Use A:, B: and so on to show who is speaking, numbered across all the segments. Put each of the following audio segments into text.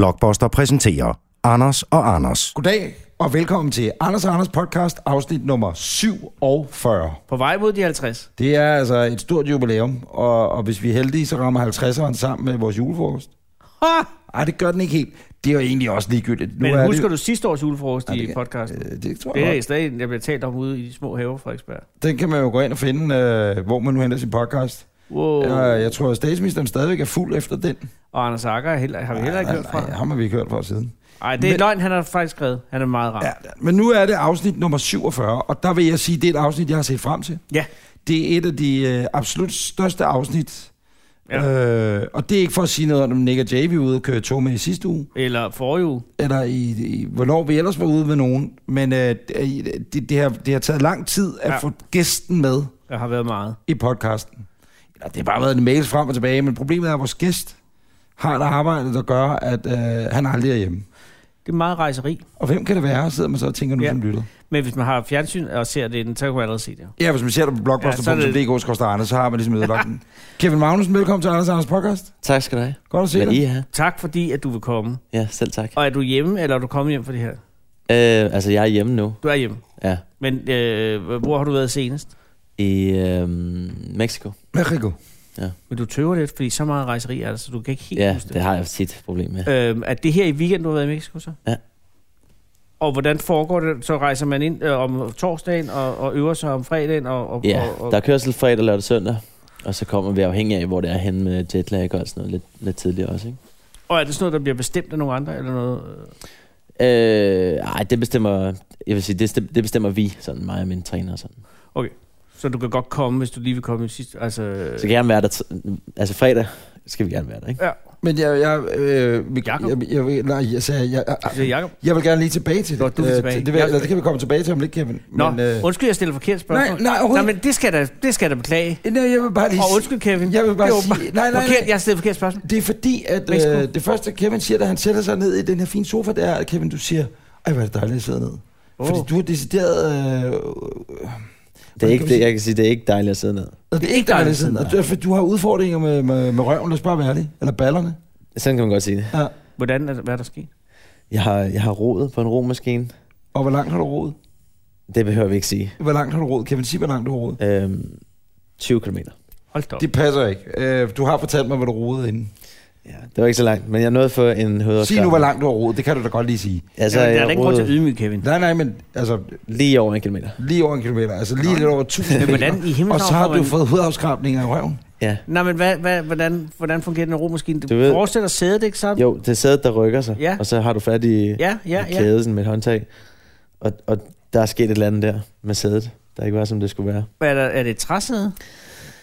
A: Blockbuster præsenterer Anders og Anders.
B: Goddag og velkommen til Anders og Anders podcast, afsnit nummer 47.
C: På vej mod de 50.
B: Det er altså et stort jubilæum, og, og hvis vi er heldige, så rammer 50'eren sammen med vores julefrokost.
C: Ha!
B: Ej, det gør den ikke helt. Det er jo egentlig også ligegyldigt.
C: Men
B: er
C: husker
B: det,
C: du sidste års julefrokost
B: Ja, det
C: i
B: kan-
C: podcasten?
B: Øh, Det tror
C: Det
B: jeg
C: er
B: nok.
C: stadig, jeg bliver talt om ude i de små haver, Frederiksberg.
B: Den kan man jo gå ind og finde, øh, hvor man nu henter sin podcast.
C: Wow.
B: Jeg, jeg tror, at statsministeren stadigvæk er fuld efter den.
C: Og Anders Akker heller, har vi heller ikke hørt
B: Nej,
C: fra.
B: ham har vi ikke hørt fra siden.
C: Nej, det er
B: Men-
C: løgn, han har faktisk skrevet. Han er meget ramt.
B: Ja, men nu er det afsnit nummer 47, og der vil jeg sige, at det er et afsnit, jeg har set frem til.
C: Ja.
B: Det er et af de øh, absolut største afsnit.
C: Ja.
B: Ja. Øh, og det er ikke for at sige noget om, om Nick og Jay vi er ude og køre tog med i sidste uge,
C: Eller forrige uge.
B: eller i, i, hvornår vi ellers var ude med nogen. Men øh, det, det, har, det har taget lang tid at
C: Ja.
B: ja. få gæsten med
C: Der har været meget.
B: i podcasten. Eller det har bare været en mails frem og tilbage, men problemet er, at vores gæst har et arbejde, der gør, at øh, han aldrig er hjemme.
C: Det er meget rejseri.
B: Og hvem kan det være, sidder man så og tænker nu
C: Ja.
B: ja. som lytter.
C: Men hvis man har fjernsyn og ser det, så kan man allerede se det.
B: Ja, hvis man ser det på blogposter.dk, ja, så, Anders, så har man ligesom ødelagt den. Kevin Magnussen, velkommen til Anders Anders podcast.
D: Tak skal du have.
B: Godt at se
D: Hvad I
B: dig.
D: er.
C: Tak fordi, at du vil komme.
D: Ja, selv tak.
C: Og er du hjemme, eller er du kommet hjem for det her?
D: Øh, altså, jeg er hjemme nu.
C: Du er hjemme.
D: Ja.
C: Men øh, hvor har du været senest?
D: I øh, Mexico.
B: Mexico.
C: Men du tøver lidt, fordi så meget rejseri er der, så du kan ikke helt
D: Ja,
C: huske
D: det har jeg tit et problem med.
C: Øh, er det her i weekenden, du har været i Mexico så?
D: Ja.
C: Og hvordan foregår det? Så rejser man ind øh, om torsdagen og, og øver sig om fredagen? Og, og,
D: Ja,
C: og, og,
D: der er kørsel fredag, lørdag, søndag. Og så kommer vi afhængig af, hvor det er henne med jetlag og sådan noget lidt, lidt tidligere også, ikke?
C: og er det sådan noget, der bliver bestemt af nogle andre? Eller noget? Øh,
D: Øh, ej, det bestemmer, jeg vil sige, det, stem- det bestemmer vi, sådan mig og min træner og sådan.
C: Så du kan godt komme, hvis du lige vil komme i sidste... Altså,
D: Så gerne være der, t- altså fredag skal vi gerne være der, ikke?
C: ja,
B: Men jeg, jeg, øh, vi, jeg,
C: Jakob.
B: jeg, jeg, nej, jeg, sagde, jeg, jeg,
C: øh, så Jacob.
B: jeg vil gerne lige tilbage til det.
C: Nå, du vil
B: Øh,
C: tilbage.
B: Det, det, vil,
C: Jeg-
B: eller, det kan vi komme tilbage til om lidt, Kevin.
C: Nå,
B: Men, øh,
C: undskyld, jeg stiller forkert spørgsmål.
B: nej, nej,
C: nej
B: overhovedet
C: men det skal jeg da, det skal jeg da beklage.
B: ikke. Nej, jeg vil bare lige...
C: Og undskyld, Kevin.
B: Jeg vil bare
C: Det er
B: sige... Nej, nej,
C: Forkert,
B: nej.
C: jeg har stillet forkert spørgsmål.
B: Det er fordi, at
C: Mexico.
B: øh, det første, Kevin siger, da han sætter sig ned i den her fine sofa, det er, at Kevin, du siger, ej, hvor er det dejligt at sidde ned.
C: Åh.
B: Fordi du har decideret... Øh,
D: Det er ikke, det, jeg kan sige, det er ikke dejligt at sidde ned.
B: det er ikke dejligt at sidde ned.
D: nej.
B: Og du- Du har udfordringer med, med, med røven, lad os bare være ærlig. Eller ballerne.
D: Sådan kan man godt sige det.
B: Ja.
C: Hvordan er, hvad er der sket?
D: Jeg har, jeg har rodet på en romaskine.
B: Og hvor langt har du råd?
D: Det behøver vi ikke sige.
B: Hvor langt har du råd? Kevin, sig, hvor langt du har råd.
D: Øhm, 20 kilometer.
C: Hold da op.
B: Det passer ikke. Øh, du har fortalt mig, hvor du roede inden.
D: Ja, det var ikke så langt, men jeg nåede for en hovedoskar.
B: Sig nu, hvor langt du har roet. Det kan du da godt lige sige.
D: Altså,
C: ja, men der er
D: jeg
C: da ikke grund til at
D: rodede
C: ydmyge, Kevin.
B: Nej, nej, men altså,
D: lige over en kilometer.
B: lige over en kilometer. Altså lige lidt over 1000
C: Men
B: meter.
C: hvordan i himlen
B: Og så har du fået hudafskrabninger i røven.
C: Øh,
D: Ja.
C: Nej, men hvad, hvad, hvordan, hvordan fungerer den romaskine? Du,
D: Du
C: du
D: ved-
C: forestiller sædet, ikke sammen?
D: Jo, det er sædet, der rykker sig,
C: Ja.
D: og så har du fat i, ja,
C: Ja, ja,
D: i
C: ja.
D: kæden med et håndtag. Og, og der er sket et eller andet der med sædet, der ikke var, som det skulle være.
C: Er, der, er det et træsæde?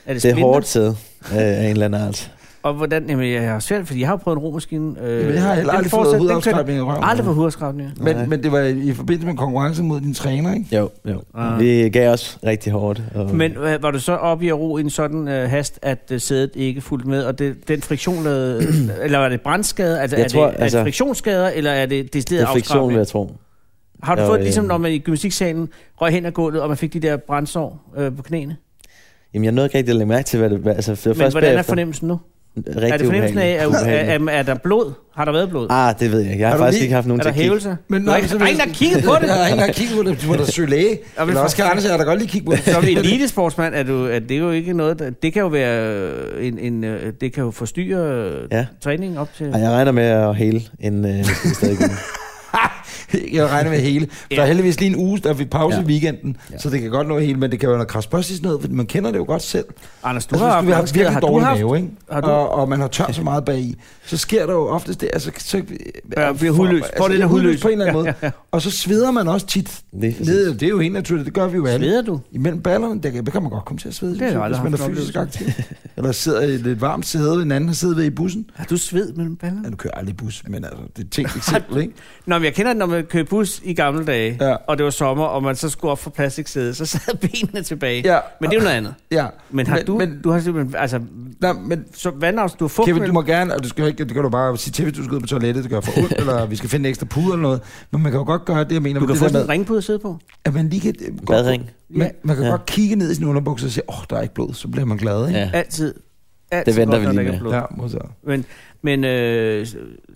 C: Er det,
D: Det er
C: splinter?
D: hårdt sæde øh, af en eller anden art.
C: Og hvordan? Jamen, jeg har svært, fordi jeg har prøvet en romaskine. Øh,
B: Jamen, jeg har heller
C: den
B: aldrig fået
C: fortsætter- den
B: hudafskrabninger i
C: kører-
B: røven.
C: Aldrig fået hudafskrabninger.
D: Nej.
B: Men, men det var i forbindelse med konkurrence mod din træner, ikke?
D: Jo, jo.
C: Ah.
D: Vi gav os rigtig hårdt. Og
C: Men øh, var du så oppe i at ro i en sådan øh, hast, at øh, sædet ikke fulgte med, og det, den friktion lavede, eller var det brandskade? Altså,
D: Jeg
C: er,
D: tror,
C: det, altså, er
D: altså-
C: det friktionsskader, eller er det
D: det
C: decideret
D: er friktion,
C: afskrabning?
D: vil jeg tro.
C: Har du
D: Ja,
C: fået,
D: øh,
C: ligesom når man i gymnastiksalen røg hen ad gulvet, og man fik de der brandsår øh, på knæene?
D: Jamen, jeg nåede ikke rigtig at lægge mærke til, hvad det var. Altså, det var
C: Men
D: først
C: hvordan er
D: bagefter.
C: fornemmelsen nu?
D: Rigtig
C: er det fornemmelsen af,
D: ubehageligt.
C: at,
D: Ubehageligt.
C: at, at, er der blod? Har der været blod?
D: Ah, det ved jeg ikke. Jeg har,
B: Er du
D: faktisk
B: lige-
D: ikke haft nogen
C: er
D: til
C: der
D: at kigge.
C: hævelse?
B: Men
C: der er ikke, der er ikke der kigget på det.
B: Der er ingen, der har kigget på det. Du må da søge læge.
C: Jeg vil
B: Eller også kan Anders og jeg da godt lige kigge på det.
C: Som elitesportsmand er, du, er det jo ikke noget, der, det kan jo være øh, en, en øh, det kan jo forstyrre ja.
D: Ja.
C: træningen op til.
D: Ej, jeg regner med at hele en øh, stadig
B: Jeg regner med hele. For Der er heldigvis lige en uge, der vi pause i
D: Ja.
B: weekenden,
D: Ja.
B: så det kan godt nå hele, men det kan være noget krasbøstis noget, fordi man kender det jo godt selv.
C: Anders, du
B: Du altså,
C: har,
B: har, hvis du har
C: haft
B: virkelig
C: har du
B: dårlig
C: haft,
B: mave, ikke?
C: har
B: Har
C: du-
B: du? Og, og man har tørt så meget bagi, så sker der jo oftest det, altså... Så, altså,
C: Ja, bliver hudløs. Får det
B: ja,
C: der hudløs.
B: på en eller anden
C: Ja,
B: måde. Og så sveder man også tit.
D: Lige præcis.
B: Ned, det er jo helt naturligt, det gør vi jo alle.
C: Sveder du?
B: Imellem ballerne, der, kan- der kan man godt komme til at svede,
C: har jeg
B: synes jeg,
C: aldrig
B: hvis man er
C: haft en
B: fysisk aktiv. Eller sidder i et lidt varmt sæde, ved en anden har siddet ved i bussen.
C: Har du sved mellem
B: Ja,
C: ballerne?
B: nu kører jeg aldrig i bus, men altså, det er et tænkt eksempel, ikke?
C: Nå, men jeg kender det, når man kørte bus i gamle dage, ja.
B: Ja.
C: og det var sommer, og man så skulle op for plastiksædet, så sad benene tilbage.
B: Ja.
C: Men det er jo noget andet.
B: Ja.
C: Men har men, du, men,
B: Men,
C: du har simpelthen, altså,
B: nej, men
C: så vandavs, du har fugt
B: Kevin, du
C: mellem-
B: må gerne, og du skal jo ikke, det kan du bare sige til, hvis du skal ud på toilettet, det gør for ondt, eller vi skal finde en ekstra pude eller noget. Men man kan jo godt gøre det, jeg mener.
C: du kan
B: det
C: få
B: der
C: sådan en
B: med,
C: ringpude at sidde på.
B: at man lige kan... øh, godt-
D: badring.
B: Man, man kan
D: Ja.
B: ja. godt kigge ned i sin underbukser og sige, åh, oh, der er ikke blod, så bliver man glad, ikke?
D: Ja.
C: Altid. Altid
D: Det venter
C: godt,
D: vi
C: når
D: lige
C: der ikke er
D: med.
C: blod.
B: Ja, modtaget.
C: Men, men øh,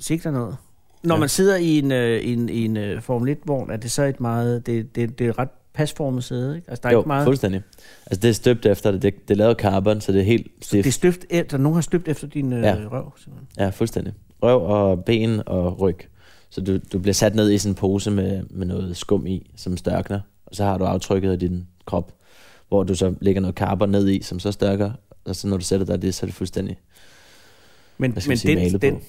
C: sigter noget. Når
D: Ja.
C: man sidder i en, øh, en, en øh, Formel 1-vogn, er det så et meget... Det, det, det er et ret pasformet sæde, ikke? Altså, der er
D: jo,
C: ikke meget...
D: fuldstændig. Altså, det er støbt efter det. Det, det er lavet af carbon, så det er helt stift.
C: Det er støft efter, nogen har støbt efter din øh,
D: Ja.
C: ja. røv. simpelthen.
D: Ja, fuldstændig. Røv og ben og ryg. Så du, du bliver sat ned i sådan en pose med, med noget skum i, som størkner. Og så har du aftrykket af din krop, hvor du så lægger noget carbon ned i, som så størker. Og så når du sætter dig i det, så er det fuldstændig
C: Men,
D: hvad skal
C: men
D: man sige, malet
C: den, den,
D: på.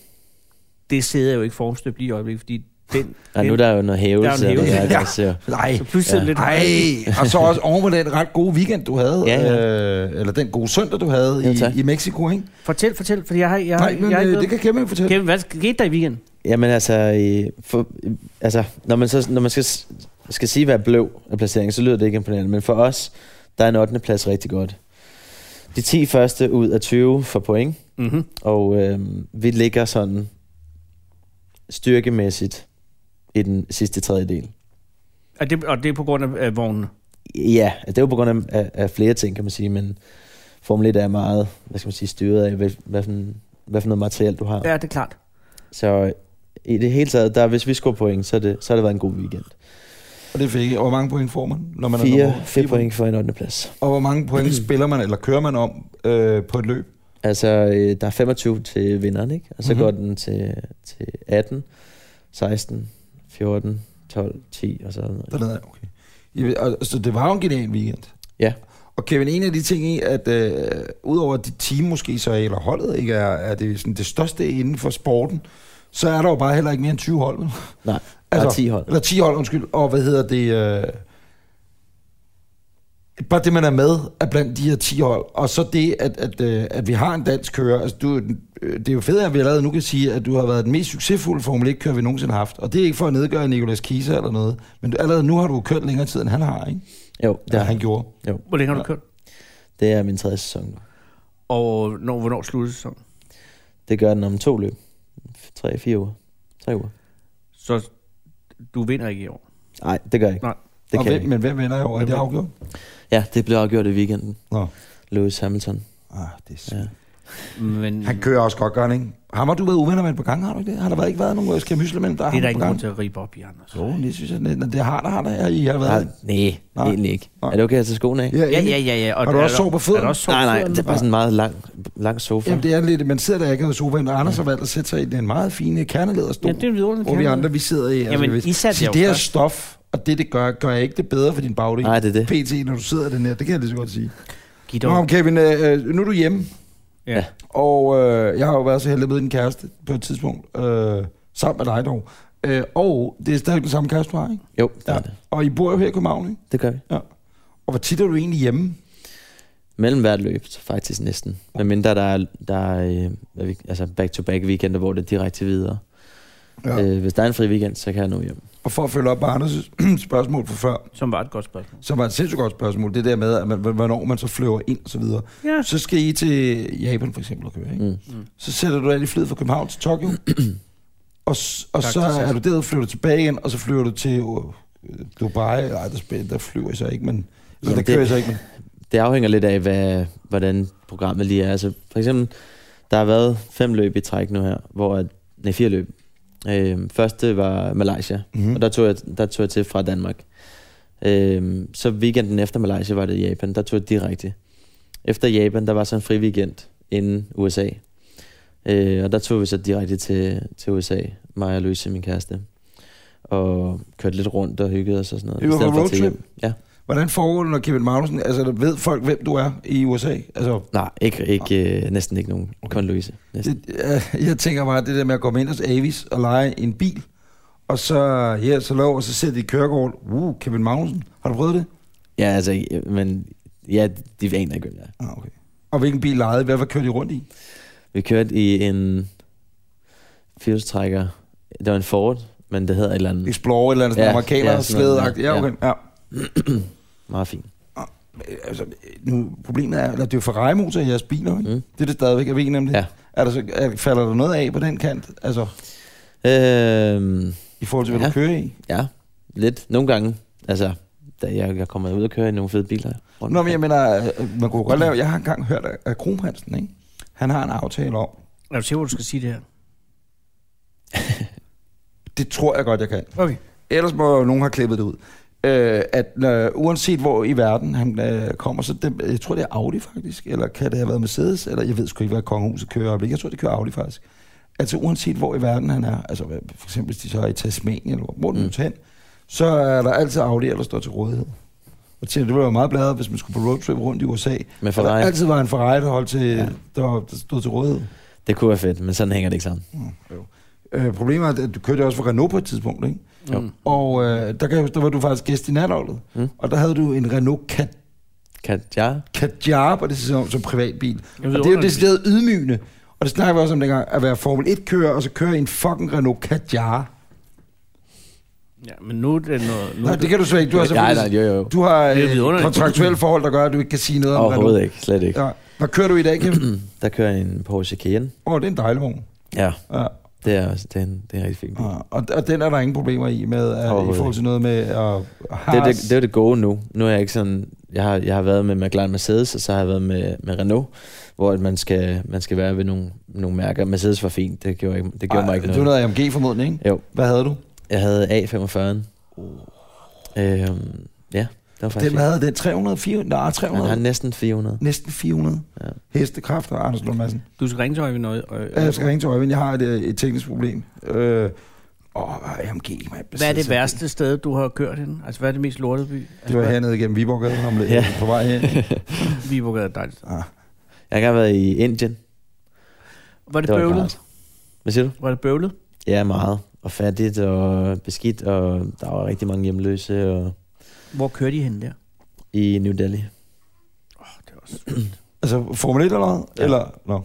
C: det sæde er jo ikke formstøbt lige i øjeblikket, fordi den...
D: Nej,
C: den
D: nu er der jo noget hævelse.
C: Der er en
D: og noget
B: hævelse, ja.
D: værk, så-
B: Nej.
C: så pludselig
D: Ja.
C: ja. lidt...
B: Nej, og så også oven på den ret gode weekend, du havde.
D: Ja,
B: Øh, eller den gode søndag, du havde
D: Ja,
B: i,
D: tak.
B: i Mexico, ikke?
C: Fortæl, fortæl, fordi jeg har... Jeg, har-
B: Nej, men
C: jeg, har ikke
B: øh, det
C: noget-
B: kan Kevin fortælle.
C: Kevin, hvad skete der i weekenden?
D: Jamen altså, øh, for, øh, altså når man, så, når man skal, s- skal sige, hvad er bløv af placeringen, så lyder det ikke imponerende. Men for os, der er en 8. plads rigtig godt. De 10 første ud af 20 for point,
C: Mm-hmm.
D: og øh, vi ligger sådan styrkemæssigt i den sidste tredjedel.
C: Og, det, og det er på grund af øh, vognen.
D: Ja, altså, det er jo på grund af, af, af flere ting, kan man sige, men Formel 1 er meget, hvad skal man sige, styret af, hvad, hvad, for, en- hvad for noget materiel du har.
C: Ja, det er klart.
D: Så øh, i det hele taget, der, hvis vi scorer point, så, er det, så har det været en god weekend.
B: Og det fik jeg. Hvor mange point får man, når man er nummer
D: Fire,
B: otte?
D: fire point for en 8. plads.
B: Og hvor mange point spiller man, eller kører man om øh, på et løb?
D: Altså, øh, der er 25 til vinderen, ikke? Og så
B: Mhm.
D: mm-hmm. går den til, til 18, 16, 14, 12, 10 og sådan noget.
B: Dernede, okay. I ved- og- Så det var jo en genial weekend.
D: Ja.
B: Og Kevin, en af de ting i, at øh, udover at dit team måske så, eller holdet ikke er, er det, sådan, det største inden for sporten, så er der jo bare heller ikke mere end 20 hold. vel?
D: Nej, der
B: Altså,
D: er 10 Ah, hold.
B: Eller 10 hold, undskyld. Og hvad hedder det... Øh, bare det, man er med er blandt de her 10 hold. Og så det, at, at, øh, at vi har en dansk kører. Altså, du, er den- øh, det er jo fedt, at vi allerede nu kan sige, at du har været den mest succesfulde Formel 1-kører, vi nogensinde har haft. Og det er ikke for at nedgøre Nicolas Kisa eller noget. Men du, allerede nu har du kørt længere tid, end han har, ikke? Øh,
D: Jo, det,
B: Ja.
D: er,
B: han gjorde.
D: jo,
C: Hvor længe har du kørt?
D: det er min tredje sæson nu.
C: Og når, hvornår slutter sæsonen?
D: Det gør den om to løb. 3-4 uger. 3 uger.
C: Så du vinder ikke i år.
D: Nej, det gør jeg ikke.
C: Nej.
D: Det
B: og
D: kan jeg
B: hvem,
D: ikke.
B: men hvem vinder i år? Er det afgjort?
D: Ja, det blev afgjort i weekenden.
B: Nå.
D: Lewis Hamilton.
B: Ah, det er s-
D: Ja.
C: Men
B: Han kører også godt, gør han ikke? Ham har du været uvenner med et par gange, har du ikke det? Har der været ikke været nogen øh, skærmysler mellem dig? og
C: det er
B: ham et
C: der ikke
B: par
C: nogen
B: gange?
C: til at ribe op i, Anders.
B: Jo, det synes jeg, det, det har der, har der. I har
D: Nej,
B: været...
D: Ah, nej,
B: Nej.
D: egentlig ikke.
B: Nej.
D: Er det okay at tage skoene af?
C: Ja, ja, ja. ja. Og
B: Har du
C: er
B: også
C: der-
B: sår på fødderne?
C: Er der også sår
D: Nej,
C: på
D: nej,
C: fødderne?
D: det er bare sådan en meget lang, lang sofa.
B: Jamen, det er lidt, man sidder der ikke og sofaen, og Anders har valgt at sætte sig i den meget fine
C: Ja,
B: kernelederstol,
C: det er en vidunderlig
B: hvor vi
C: kærlighed.
B: andre, vi sidder i. Altså,
C: Jamen,
B: hvis-
C: I satte
B: sige,
C: jer jo
B: det her
C: først.
B: stof, og det, det gør, gør jeg ikke det bedre for din bagdel.
D: Nej, det er det.
B: PT, når du sidder i den her, det kan jeg lige så godt sige.
C: Giv dig-
B: Nå, Kevin, øh, øh, nu er du hjemme,
C: Ja.
B: og øh, jeg har jo været så heldig med din kæreste på et tidspunkt, øh, sammen med dig dog. Øh, og det er stadig den samme kæreste, du har, ikke?
D: Jo, det, ja. det.
B: Og I bor jo her i København, ikke?
D: det gør vi.
B: Og hvor tit er du egentlig hjemme?
D: Mellem hvert løb, så faktisk næsten. Men mindre der er, der er øh, hvad vi- altså back-to-back weekender, hvor det er direkte videre. Ja. Øh, hvis der er en fri weekend, så kan jeg nå hjem.
B: Og for at følge op på Anders' spørgsmål fra før,
C: Som var et godt spørgsmål.
B: som var et sindssygt godt spørgsmål, det der med, at man, hvornår man så flyver ind og så videre.
C: Ja.
B: Så skal I til Japan for eksempel og køre, ikke?
D: Mm.
B: Så sætter du dig ind i flyet fra København til Tokyo, og, s- og
C: Tak,
B: så
C: det er
B: er du derude, flyver du tilbage igen, og så flyver du til øh, Dubai. Nej, der, spil- der flyver I så ikke, men... Eller der
D: Jamen, det-
B: kører I så ikke, men...
D: Det afhænger lidt af, hvad, hvordan programmet lige er. Altså, for eksempel, der har været fem løb i træk nu her, hvor at, nej, fire løb. Øh, første var Malaysia,
B: Mm-hmm.
D: og der tog jeg, der tog jeg til fra Danmark. Øh, så weekenden efter Malaysia var det Japan, der tog jeg direkte. Efter Japan, der var så en fri weekend inden USA. Øh, og der tog vi så direkte til, til USA, mig og Louise, min kæreste. Og kørte lidt rundt og hyggede os og sådan noget.
B: I var
D: I stedet
B: på
D: for at
B: roadtrip?
D: tage hjem. Ja.
B: Mhm. Hvordan foregår det, når Kevin Magnussen... Altså, der ved folk, hvem du er i USA? Altså,
D: Nej, ikke, ikke, øh, næsten ikke nogen. Kun Louise. Næsten.
B: det, øh, jeg tænker bare, det der med at komme ind hos Avis og lege en bil, og så, ja, så lov, og så sidder de i kørekort. Uh, Kevin Magnussen, har du prøvet det?
D: Ja, altså, øh, men ja, de aner ikke, hvem jeg er.
B: Ah, okay. Og hvilken bil lejede? Hvad var kørt I rundt i?
D: Vi kørte i en fjolstrækker. Det var en Ford, men det hedder et eller andet
B: Explorer eller andet ja,
D: Mm. Ja,
B: amerikaner, ja,
D: ja, sådan noget,
B: slædeagtigt. Ja,
D: ja.
B: okay. Ja.
D: meget fint.
B: Øh, Altså, nu, problemet er, at det er jo Ferrari-motor i jeres biler, ikke? Mm.
D: Mm.
B: Det er det stadigvæk, jeg ved nemlig.
D: Ja.
B: Er der så, er, falder der noget af på den kant, altså
D: Øhm,
B: i forhold til, hvad ja.
D: Ja.
B: du kører i?
D: ja, lidt. Nogle gange, altså, da jeg, jeg kommer ud og kører i nogle fede biler. rundt
B: Nå, men jeg
D: omkring.
B: mener, øh, man kunne godt lave, jeg har engang hørt af- af Kronprinsen, ikke? Han har en aftale om,
C: Er du sikker, hvor du skal sige det her?
B: Det tror jeg godt, jeg kan.
C: Okay.
B: Ellers må nogen have klippet det ud. Øh, at øh, uanset hvor i verden han øh, kommer, så det, jeg tror, det er Audi faktisk, eller kan det have været Mercedes, eller jeg ved sgu ikke, hvad kongehuset kører i øjeblikket. Jeg tror, det kører Audi faktisk. Altså uanset hvor i verden han er, altså hvad- for eksempel hvis de så er i Tasmanien, eller hvor- hvor mm.
D: Mm.
B: de hen, så er der altid Audi, der står til rådighed. Og tænker, det ville være meget bladere, hvis man skulle på roadtrip rundt i USA.
D: Med
B: Der
D: Ferrari.
B: altid var en Ferrari, der, holdt til, ja.
D: Ja.
B: der, der stod til rådighed.
D: Det kunne være fedt, men sådan hænger det ikke sammen.
B: Øh, problemet er, at du kørte jo også for Renault på et tidspunkt, ikke?
D: Jo.
C: Mm.
B: Og øh, der, kan jeg huske, der var du faktisk gæst i natholdet. Mm.
D: Mm.
B: Og der havde du en Renault Kat-
D: Kan jeg?
B: Kadjar, og det ser om som privatbil. og det
C: ved,
B: er jo
C: underligt.
B: decideret ydmygende. Og det snakker vi også om dengang, at være Formel 1-kører, og så køre i en fucking Renault Kadjar.
C: Ja, men nu er det noget... Nu
B: Nej, det kan du slet ikke. Du har,
D: Nej,
B: selvfølgelig,
D: nej, jo, jo.
B: Altså, du har
C: Det er
B: øh,
C: vidunderligt.
B: kontraktuelle forhold, der gør, at du ikke kan sige noget om Renault.
D: Overhovedet ikke, slet ikke.
B: Ja. Hvad kører du i dag, Kim?
D: Der kører jeg en Porsche Cayenne.
B: Åh, oh, det er en dejlig vogn.
D: Ja,
B: Ja,
D: det er, også, det er, en, det er en rigtig fin bil.
B: ja. Og, og, den er der ingen problemer i med, uh, i
D: Mm. Overhovedet
B: forhold til noget med at
D: Det, er det, det er det gode nu. Nu er jeg ikke sådan... Jeg har, jeg har været med McLaren Mercedes, og så har jeg været med, med Renault, hvor at man skal, man skal være ved nogle, nogle mærker. Mercedes var fint, det gjorde, ikke, det gjorde mig ikke
B: Det var
D: noget.
B: noget AMG formodentlig, ikke?
D: Jo,
B: Hvad havde du?
D: jeg havde A45'en. Øhm, ja, det var faktisk
B: Uh. Den
D: fint.
B: havde den 300, 400, nej,
D: Han
B: 300.
D: har næsten 400.
B: næsten 400 ja.
D: Ja.
B: hestekræfter, Anders Lund Madsen.
C: Du skal ringe til Øjvind Øj. Øj-
B: Ja, jeg skal ringe til Øjvind, jeg har et, øh, et teknisk problem. Øh, åh, hvad er AMG, man.
C: Hvad er det værste sted, du har kørt henne? Altså, hvad er det mest lortede by? Altså,
B: Det var
C: hvad-
B: hernede gennem Viborggade, om lidt,
D: Ja.
B: på vej hen.
C: Viborggade Altså, er dejligt.
B: Ah,
D: Jeg har engang været i Indien.
C: Var det,
D: Det var ikke
C: bøvlet?
D: rart. Hvad siger du?
C: Var det bøvlet?
D: Ja, meget. Og fattigt og beskidt, og der var rigtig mange hjemløse og
C: Hvor kører de hen der?
D: i New Delhi.
C: Det er også...
B: altså, Formel 1 eller noget? Ja.
D: Ja.
B: Eller, no.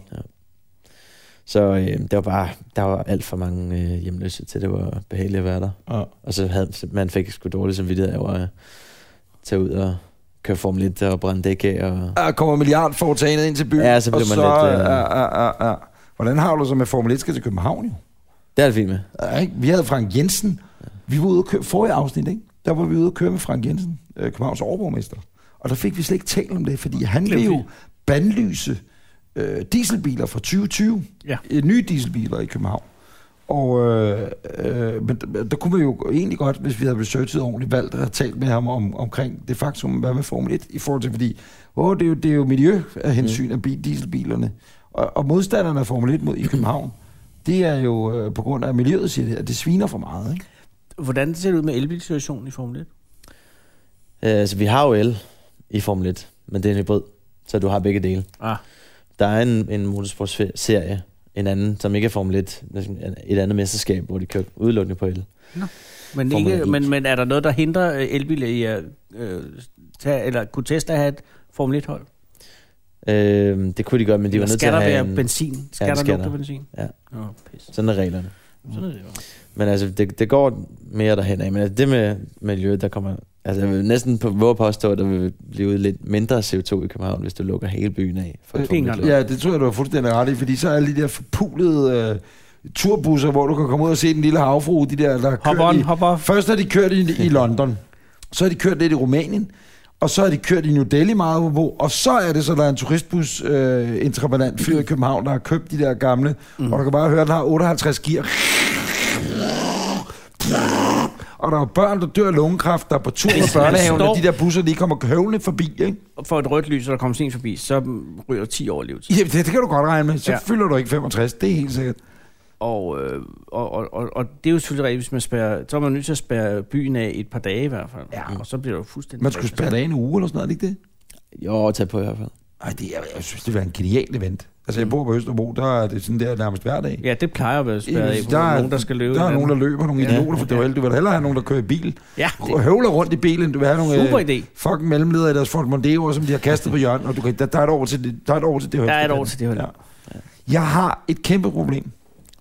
D: Så øh, det var bare, der var alt for mange øh, hjemløse til, det var behageligt at være der.
B: Ja.
D: Og så havde, man fik sgu dårligt samvittighed over at øh, tage ud og køre Formel 1 og brænde dæk af. Og...
B: Ah, kommer milliardforetagendet ind til byen,
D: Ja, så bliver
B: og så,
D: man lidt, øh,
B: ah, ah, ah, ah. Hvordan har du så med Formel 1 skal til København, jo?
D: Det er det fint med.
B: Ja, ikke? Vi havde Frank Jensen. Vi var ude at køre, forrige afsnit, ikke? der var vi ude at køre med Frank Jensen, øh, Københavns overborgmester. Og der fik vi slet ikke talt om det, fordi han ville jo bandlyse øh, dieselbiler fra 2020.
C: Ja.
B: Øh, nye dieselbiler i København. Og øh, øh, men der, der kunne man jo egentlig godt, hvis vi havde researchet ordentligt, valgt at have talt med ham om, omkring det faktum, hvad med Formel 1 i forhold til, fordi åh, det, er jo, det er jo miljø af hensyn mm. af bi- dieselbilerne. Og, og modstanderne af Formel 1 mod i København, det er jo øh, på grund af miljøet, siger det, at det sviner for meget. Ikke?
C: Hvordan ser det ud med elbilsituationen i Formel 1?
D: Øh, så vi har jo el i Formel 1, men det er en hybrid, så du har begge dele.
C: Ah,
D: Der er en, en motorsportsserie, en anden, som ikke er Formel 1, næsten et andet mesterskab, hvor de kører udelukkende på el.
C: men,
D: Formel
C: ikke,
D: E.
C: men, men er der noget, der hindrer øh, elbiler i at øh, tage, eller kunne Tesla have et Formel 1-hold?
D: Øh, det kunne de godt, men de var
C: Eller
D: nødt til
C: skal der
D: at
C: være
D: have en,
C: benzin? Skal
D: Ja,
C: der
D: det skal
C: lugte
D: der.
C: benzin?
D: Ja.
C: Nå, pis.
D: Sådan er reglerne.
C: Sådan er det jo.
D: Men altså, det, det går mere derhen af. Men altså, det med miljøet, der kommer... Altså, jeg vil næsten på, våge at påstå, at der vil blive lidt mindre CO2 i København, hvis du lukker hele byen af. For
B: Øh,
D: et Formel
C: ingen
D: 1 løb.
B: Ja, det tror jeg, du har fuldstændig ret i, fordi så er alle de der forpulede øh, turbusser, hvor du kan komme ud og se den lille havfru, de der, der
C: Hop
B: kører
C: on,
B: i-
C: hop off.
B: Først har de kørt i, i London, så har de kørt lidt i Rumænien, og så har de kørt i New Delhi meget på, og så er det så, der er en turistbus øh, entreprenant fyr i København, der har købt de der gamle, mm. og du kan bare høre, den har 58 gear. Og der er børn, der dør af lungekræft, der er på tur med børnehaven, og de der busser lige kommer høvlende forbi, ikke?
C: For et rødt lys, og der kommer sent forbi, så mm, ryger der 10 år livet.
B: Jamen, det, det kan du godt regne med. Så ja.
C: Ja.
B: fylder du ikke 65, det er helt sikkert.
C: Og, øh, og, og, og, og det er jo selvfølgelig rigtigt, hvis man spærrer, så er man nødt til at spærre byen af et par dage i hvert fald.
B: Ja.
C: Og så bliver det jo fuldstændig...
B: Man skulle spærre det af en uge eller sådan noget, er det ikke det?
D: Jo, tag på i hvert fald.
B: Ej, det, jeg, jeg synes, det var en genial event. Altså, jeg bor på Østerbro, der er det sådan der nærmest hver dag.
C: Ja, det plejer at være spærret af.
B: Hvis
C: Der er nogen, der skal løbe.
B: Der er nogen, der løber, nogle
C: Ja.
B: idioter, for det var helt- Du vil hellere have nogen, der kører i bil.
C: Ja, det
B: Og høvler rundt i bilen, end du vil have nogle
C: er en super
B: øh,
C: idé.
B: fucking mellemledere i deres Ford Mondeo, som de har kastet på hjørnet, og du kan, der, der, er et år til det, der er et år til det
C: Der er et
B: højeste.
C: år til det hold.
B: Ja. Jeg har et kæmpe problem.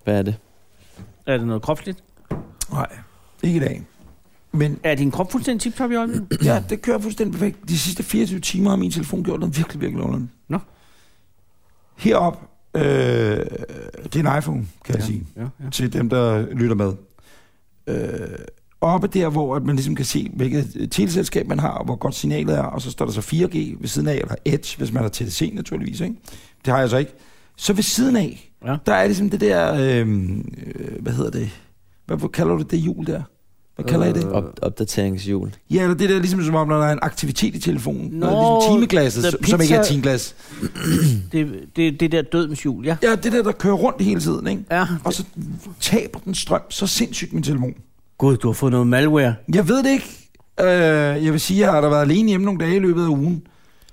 D: Hvad er det?
C: Er det noget kropsligt?
B: Nej, ikke i dag. Men
C: Er din krop fuldstændig tip-top i øjeblikket?
B: ja, det kører fuldstændig perfekt. De sidste 24 timer har min telefon gjort noget virkelig, virkelig underligt.
C: Nå.
B: Herop, øh, det er en iPhone, kan jeg sige.
C: Ja, ja.
B: til dem, der lytter med. Øh, oppe der, hvor at man ligesom kan se, hvilket øh, teleselskab man har, og hvor godt signalet er, og så står der så 4G ved siden af, eller Edge, hvis man har TDC naturligvis, ikke? Det har jeg så ikke. Så ved siden af,
C: Ja.
B: der er ligesom det der, øh, øh, øhm, hvad hedder det, Hvad kalder du det hjul der? Hvad kalder I det?
C: Øh,
D: Op- opdateringshjul.
B: Ja, eller det der ligesom som om, når der er en aktivitet i telefonen.
C: Nå,
B: Nå, ligesom timeglasset,
C: the
B: som- som ikke er
C: pizza-
B: timeglas.
C: Det, det, det der dødens hjul, ja.
B: Ja, det der, der kører rundt hele tiden, ikke?
C: Ja.
B: Og så taber den strøm så sindssygt min telefon.
C: Gud, du har fået noget malware.
B: Jeg ved det ikke. Øh, jeg vil sige, jeg har da været alene hjemme nogle dage i løbet af ugen.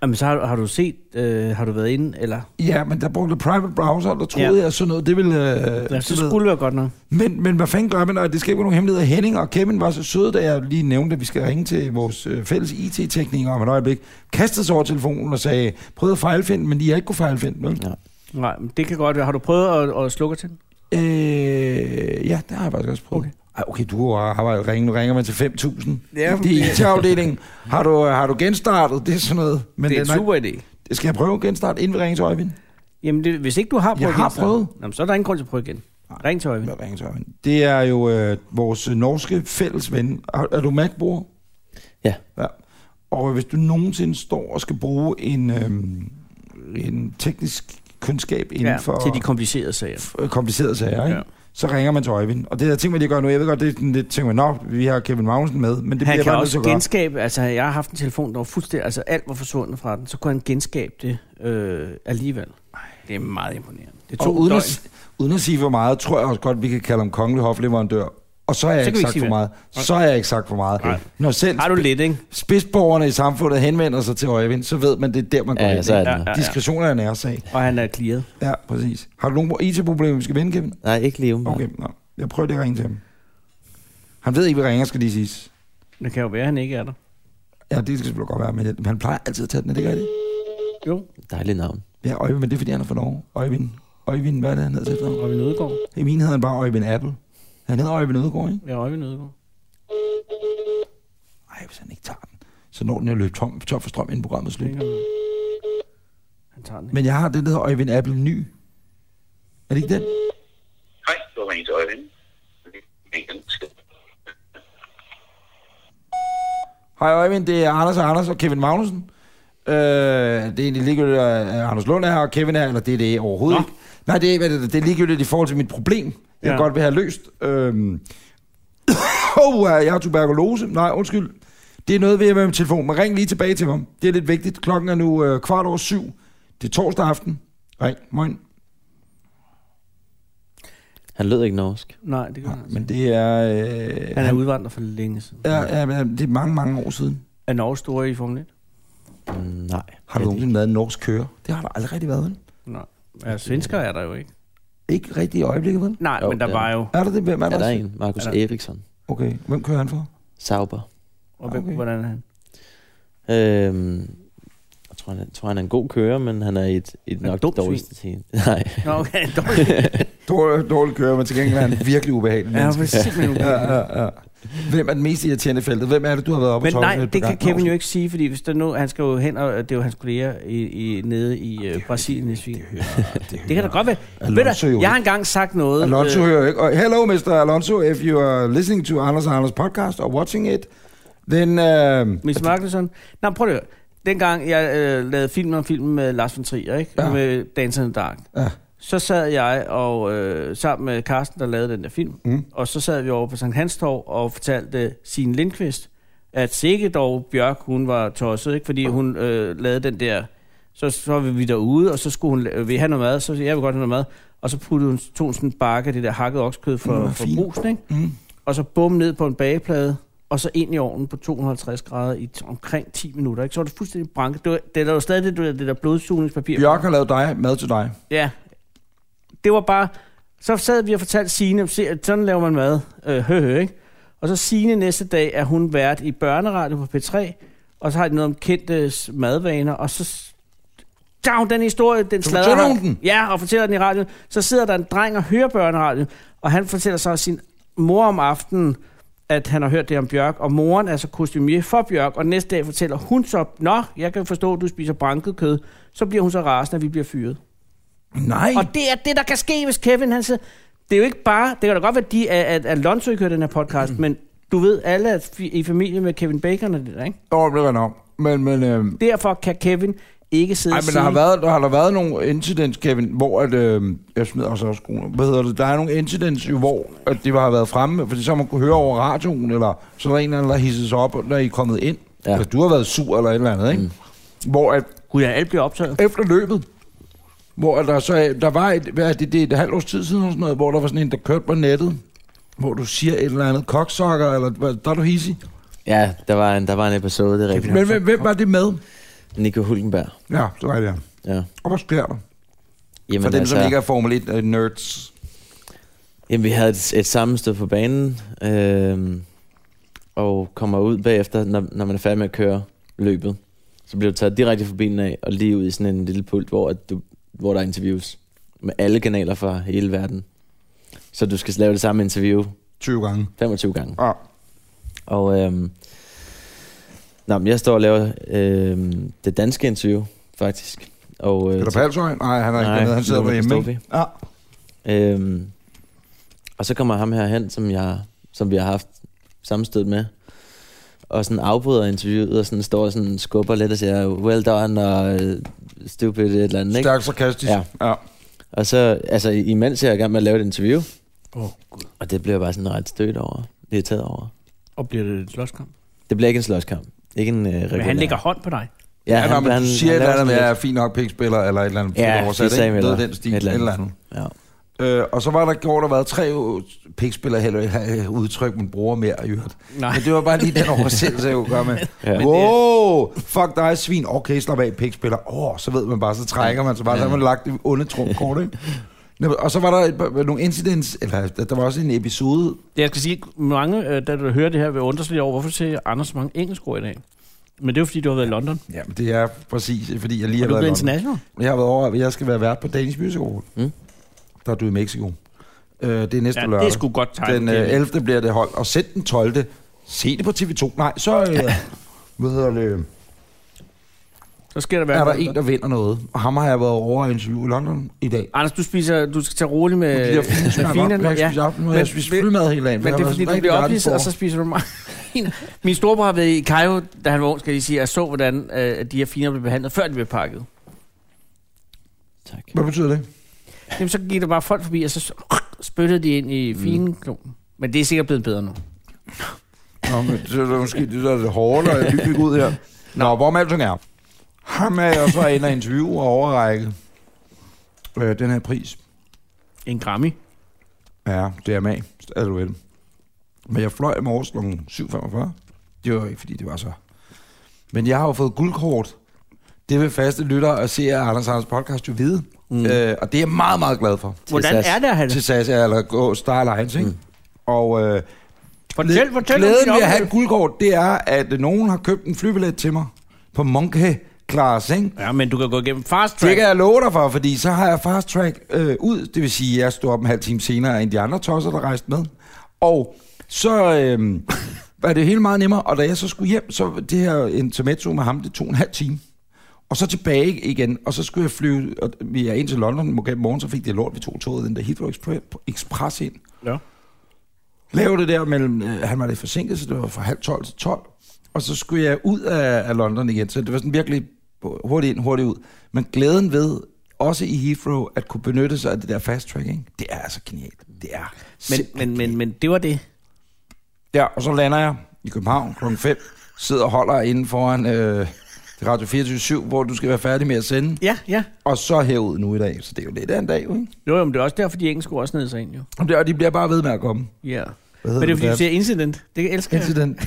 C: Jamen, så har, har du set, øh, har du været inde, eller?
B: Ja, men der brugte jeg private browser, og der troede
C: Ja.
B: ja. jeg sådan noget. Det ville... Øh,
C: Ja, det
B: du ved.
C: skulle være godt nok.
B: men, men hvad fanden gør man? Og det skal ikke være nogen hemmeligheder. Henning og Kevin var så søde, da jeg lige nævnte, at vi skal ringe til vores øh, fælles IT-teknikere om et øjeblik. Kastede sig over telefonen og sagde, prøvede at fejlfinde, men de har ikke kunne fejlfinde. Vel?
D: Ja.
C: Nej, men det kan godt være. Har du prøvet at, at slukke til den?
B: Øh, ja, det har jeg faktisk også prøvet. Okay. Ej, okay, du har arbejdet ringe. Nu ringer man til 5.000.
C: Ja,
B: det er IT-afdelingen. Har du, øh, har du genstartet? Det er sådan noget. Men
C: det er en
B: den er-
C: super idé.
B: Skal jeg prøve at genstarte, inden vi ringer til Øjvind?
C: Jamen, det, hvis ikke du har prøvet
B: Jeg har
C: igen, så-
B: prøvet.
C: Jamen, så er der ingen grund til at prøve igen. Ring til Øjvind.
B: Med ringe til Øjvind. Det er jo øh, vores øh, norske fælles ven. Er, er du Mac-bruger?
D: Ja.
B: ja. Og hvis du nogensinde står og skal bruge en, øh, en teknisk kundskab inden
C: Ja,
B: for
C: til de komplicerede sager.
B: f- komplicerede sager, ikke?
C: Ja.
B: Ja. så ringer man til Øjvind. Og det der ting, man lige gør nu, jeg ved godt, det er sådan lidt ting, man, nå, vi har Kevin Magnussen med, men det
C: han
B: bliver
C: kan
B: bare nødt til
C: også
B: at gøre.
C: genskabe, altså jeg har haft en telefon, der var fuldstændig, altså alt var forsvundet fra den, så kunne han genskabe det øh, alligevel. Det er meget imponerende. Det
B: Og
C: tog
B: uden
C: døgn.
B: at, s- uden at sige for meget, tror jeg også godt, vi kan kalde ham kongelig hofleverandør. Og så har jeg
C: Så
B: ikke
C: kan vi ikke
B: sagt
C: sige
B: for
C: mere.
B: meget. Så har jeg ikke sagt for meget.
C: Nej.
B: Når selv
C: Har du lidt, ikke?
B: spidsborgerne i samfundet henvender sig til Øjevind, så ved man, det er der, man går
D: Ja,
B: ind.
D: så er
B: ikke?
D: det
C: Ja,
D: noget.
C: ja, ja.
B: Diskretion er en æresag.
C: Og han er clearet.
B: Ja, præcis. Har du nogle IT-problemer, vi skal vende, Kevin?
D: Nej, ikke lige umiddelbart.
B: Okay, nå. Jeg prøver lige at ringe til ham. Han ved ikke, vi ringer, skal lige siges.
C: Det kan jo være, at han ikke er der.
B: Ja, det skal selvfølgelig godt være, men han plejer altid at tage den, er det ikke rigtigt?
C: Jo,
D: Dejligt navn.
B: Ja, Øjevind, men det er, fordi han er fra Norge. Øjevind. Øjevind, hvad er det, han hedder til efternavn?
C: Øjvind Ødegaard.
B: I min hedder han bare Øjevind Apple. Han hedder Øjevind Ødegaard, ikke?
C: Ja, Øjvind Ødegaard.
B: Nej, hvis han ikke tager den, så når den jo løbe tom, tom for strøm, inden programmet er
C: Det
B: slut.
C: kan være. Han tager den ikke.
B: Men jeg har det, der hedder Øjevind Apple Ny. Er det ikke den?
E: Hej, du har ringet til Øjvind. Weekend.
B: Hej Øjvind, det er Anders og Anders og Kevin Magnussen. Øh, det er egentlig ligegyldigt, at Anders Lund er her, og Kevin er her, eller det er det overhovedet Nå.
C: Nå.
B: ikke. Nej, det er, hvad det, er. det er ligegyldigt i forhold til mit problem, jeg
C: Ja.
B: ja. godt vil have løst. Øhm. oh, jeg har tuberkulose. Nej, undskyld. Det er noget ved at være med telefonen, men ring lige tilbage til mig. Det er lidt vigtigt. Klokken er nu øh, kvart over syv. Det er torsdag aften. Ring, morgen.
D: Han lød ikke norsk.
C: Nej, det kan han altså.
B: Men det er...
C: Han
B: Øh,
C: er udvandret for længe siden.
B: ja, ja, men det er mange, mange år siden.
C: Er Norge store i Formel 1?
D: Mm, Nej.
B: Har du nogensinde været en norsk kører? Det har der aldrig rigtig været, vel?
C: Nej. Ja,
B: Altså,
C: svensker er der jo ikke.
B: Ikke rigtig i øjeblikket, vel?
C: Nej,
D: Jo,
C: men der
D: det er
C: var
D: der.
C: jo...
B: Er der det? Hvem er,
D: Er der
B: også?
D: en? Markus
C: Er der-
D: Eriksson.
B: Okay, hvem kører han for?
D: Sauber.
C: Og hvem,
B: Ah, Okay.
C: hvordan er han?
D: Øhm, jeg tror han, jeg tror, han er en god kører, men han er i et, et
C: er
D: nok
C: dumt
D: det dårligste team. Nej.
C: Nå, okay, dårligt.
B: Dårlig, dårlig kører, men til gengæld er han virkelig ubehagelig.
C: Ja,
B: menneske.
C: men simpelthen
B: ja, ja, ja. Hvem er den mest irriterende i feltet? Hvem er det, du har været oppe
C: Men
B: og
C: nej, det kan Kevin jo ikke sige, fordi hvis der nu, han skal jo hen, og det er jo hans kolleger i, i, nede i øh, Brasilien i Svin. Det kan da godt være.
B: Alonso
C: Ved
B: jo
C: du, jeg har engang sagt noget.
B: Alonso
C: øh,
B: hører jo ikke. Og hello, Mr. Alonso, if you are listening to Anders og Anders podcast or watching it, then... Uh,
C: Miss Markelson. Nå, prøv lige at høre. Dengang jeg øh, lavede film om filmen med Lars von Trier, ikke?
B: Ja.
C: Ja. Med Dancer in the Dark.
B: Ja.
C: Så sad jeg og øh, sammen med Carsten, der lavede den der film,
B: Mm.
C: og så sad vi over på Sankt Hans Torv og fortalte Signe Lindqvist, at sikke dog Bjørk, hun var tosset, ikke? fordi hun øh, lavede den der... Så, så var vi derude, og så skulle hun øh, vil I have noget mad, så sagde jeg, jeg vil godt have noget mad. Og så puttede hun, tog hun sådan en bakke af det der hakket oksekød fra,
B: Mm,
C: fra
B: fint.
C: brusen, ikke?
B: mm,
C: og så bum ned på en bageplade, og så ind i ovnen på 250 grader i t- omkring 10 minutter. Ikke? Så var det fuldstændig branket. Det, var, det der var stadig det, du ved, det der blodsugningspapir.
B: Bjørk har lavet dig, mad til dig.
C: Ja. Det var bare... Så sad vi og fortalte Signe, se, at sådan laver man mad. Øh, hø, hø, ikke? Og så Signe næste dag er hun vært i børneradio på P3, og så har de noget om kendte s- madvaner, og så s- Down, den historie, den
B: Så
C: slader
B: fortæller hun
C: han-
B: den?
C: Ja, og fortæller den i radioen. Så sidder der en dreng og hører børneradio, og han fortæller så sin mor om aftenen, at han har hørt det om Bjørk, og moren er så kostumier for Bjørk, og næste dag fortæller hun så, Nå, jeg kan forstå, at du spiser branket kød. Så bliver hun så rasende, at vi bliver fyret.
B: Nej.
C: Og det er det, der kan ske, hvis Kevin han siger, det er jo ikke bare, det kan da godt være, de, at, at Alonso ikke hører den her podcast, men du ved alle at fi- i familie med Kevin Bacon og det der, ikke?
B: Åh, oh, det var nok. Men, men, øh,
C: Derfor kan Kevin ikke sidde
B: Nej,
C: og
B: men
C: sige...
B: der har, været, der har der været nogle incidents, Kevin, hvor at, øh, jeg smider også også skoene. Hvad hedder det? Der er nogle incidents, jo, hvor at det har været fremme, fordi så har man kunne høre over radioen, eller så er der en eller anden, der hisses op, når I er kommet ind.
D: Ja.
B: Ja. Eller du har været sur eller et eller andet, ikke? Mm. Hvor at
C: Gud, ja, alt bliver optaget.
B: efter løbet, hvor der så der var et, hvad er det, det er et halvt års tid siden, eller sådan noget, hvor der var sådan en, der kørte på nettet, hvor du siger et eller andet koksokker, eller hvad, der er du hissig.
D: Ja, der var en, der var en episode, det er rigtigt.
B: Men hvem, hvem var det med?
D: Nico Hulkenberg.
B: Ja, så var det ja.
D: Ja.
B: Og hvad sker der?
D: Jamen, altså-
B: For dem, som ikke er Formel øh, 1-nerds.
D: Jamen, vi havde et, et sammenstød på banen, øh, og kommer ud bagefter, når, når man er færdig med at køre løbet. Så bliver du taget direkte fra bilen af, og lige ud i sådan en lille pult, hvor, at du, hvor der er interviews med alle kanaler fra hele verden. Så du skal lave det samme interview
B: 20 gange.
D: 25 gange.
B: Ja.
D: Og øhm, nå, men jeg står og laver øhm, det danske interview, faktisk. Og, øh,
B: Peter Palsøj? Nej, han er ikke
D: Nej,
B: dernede. Han sidder Ah,
D: Lukas
B: derhjemme.
D: Stoffy.
B: ikke? Ja.
D: Øhm, og så kommer ham her hen, som, jeg, som vi har haft sammenstød med, og sådan afbryder interviewet, og sådan står og sådan skubber lidt og siger, well done, og øh, stupid et eller andet, ikke?
B: Stærk sarkastisk.
D: Ja.
B: Ja. ja.
D: Og så, altså imens jeg er i gang med at lave et interview,
C: Åh, oh, Gud.
D: og det bliver jeg bare sådan ret stødt over, irriteret over.
C: Og bliver det en slåskamp?
D: Det bliver ikke en slåskamp. Ikke en øh,
C: Men
D: regulær.
C: han lægger hånd på dig.
B: ja han, når man han, siger han, et
D: laver
B: eller andet med, at
D: sådan
B: jeg er
D: lidt-
B: fint nok pikspiller, eller et eller andet. fedt
D: Ja,
B: oversat,
D: det sagde
B: ikke?
D: eller,
B: Noget af den stil. Et eller andet.
D: Ja.
B: Øh, og så var der gjort, der været tre u- pikspillere, heller øh, udtryk, man bruger mere i øvrigt.
C: Nej.
B: Men det var bare lige den oversættelse, jeg kunne gøre med.
D: Ja.
B: ja. Wow, fuck dig, svin. Okay, slap af, pikspiller. Åh, oh, så ved man bare, så trækker man sig bare. Så har man lagt det onde trumkort, ikke? Nå, Og så var der et, par- nogle incidents, eller der var også en episode,
C: Det, Jeg skal sige, mange, øh, da du hører det her, vil undre sig lidt over, hvorfor siger Anders så mange engelske ord i dag? Men det er jo, fordi du har været i London.
B: Ja, men det er præcis, fordi jeg lige
C: Og
B: har
C: du
B: været,
C: blev
B: i London.
C: international.
B: jeg har været over, at jeg skal være vært på Danish Music Award.
D: Mm.
B: Mm. Der er du i Mexico. Øh, det er næste
C: Ja,
B: lørdag.
C: det er sgu godt tegnet.
B: Den øh, 11. bliver det holdt, og sendt den 12. Se det på TV2. Nej, så øh, hvad hedder det,
C: Så sker der hver
B: er der
C: måned.
B: en, der vinder noget. Og ham har jeg været over og interview i London i dag.
C: Anders, du spiser, du skal tage roligt med,
B: Øh, de der fine
C: med
B: snakker op,
C: finerne.
B: jeg har ikke spist aften, nu har jeg spist flymad hele dagen. for
C: Men
B: jeg
C: det er
B: har
C: fordi,
B: været
C: du
B: sådan
C: bliver
B: rigtig
C: oplyst, og så
B: verdensborger.
C: spiser du mig. Min storebror har været i Cairo, da han var ung, skal jeg lige sige, og så, hvordan øh, de her finer blev behandlet, før de blev pakket.
D: Tak.
B: Hvad betyder det?
C: Jamen, så gik der bare folk forbi, og så spyttede de ind i fineklumpen. Men det er sikkert blevet bedre nu.
B: Nå, men det er måske det, der er det hårde, og jeg lige fik ud her. Nå, hvor med alting er. Ham er jeg så inde og interview og overrække øh, den her pris.
C: En Grammy.
B: Ja, DMA, statuetten. Men jeg fløj i morges kl. 7.45. Det var ikke, fordi det var så. Men jeg har jo fået guldkort. Det vil faste lyttere og se Anders Hans podcast jo vide. Mm. Øh, og det er jeg meget, meget glad for.
C: Hvordan
D: SAS.
C: er det at have
B: Til
C: det?
B: SAS, eller gå Star Alliance, ikke? Mm. Og øh,
C: Fortæl,
B: Glæ-
C: fortæl om
B: Glæden
C: din
B: ved at have et
C: oplevelse.
B: guldkort, det er, at øh, nogen har købt en flybillet til mig på Monkey Class, ikke?
C: Ja, men du kan gå igennem fast
B: Det
C: track.
B: kan jeg love dig for, fordi så har jeg fast track øh, ud. Det vil sige, at jeg stod op en halv time senere end de andre tosser, der rejste med. Og så øh, var det hele meget nemmere. Og da jeg så skulle hjem, så var det her intermezzo med ham, det tog en halv time. Og så tilbage igen, og så skulle jeg flyve, og vi er ind til London, måske morgen, så fik det lort, vi tog toget, den der Heathrow Expre- Express ind
C: Ja.
B: lave det der mellem, øh, han var lidt forsinket, så det var fra halv 12 til 12. Og så skulle jeg ud af, af London igen, så det var sådan virkelig hurtigt ind, hurtigt ud. Men glæden ved, også i Heathrow, at kunne benytte sig af det der fast tracking, det er altså genialt. Det er
C: Men,
B: simpelthen
C: men, men, men det var det.
B: Ja, og så lander jeg i København klokken 5, sidder og holder inde foran øh, Radio 24 hvor du skal være færdig med at sende.
C: Ja, ja.
B: Og så herud nu i dag, så det er jo lidt af en dag, jo, ikke?
C: Jo, jo, men det er også derfor, de engelske ord også ned sig ind, jo.
B: Og det- Og de bliver bare ved med at komme.
C: Ja. Yeah.
B: Hvad
C: Men det er fordi, du
B: der?
C: siger incident. Det elsker jeg.
B: Incident.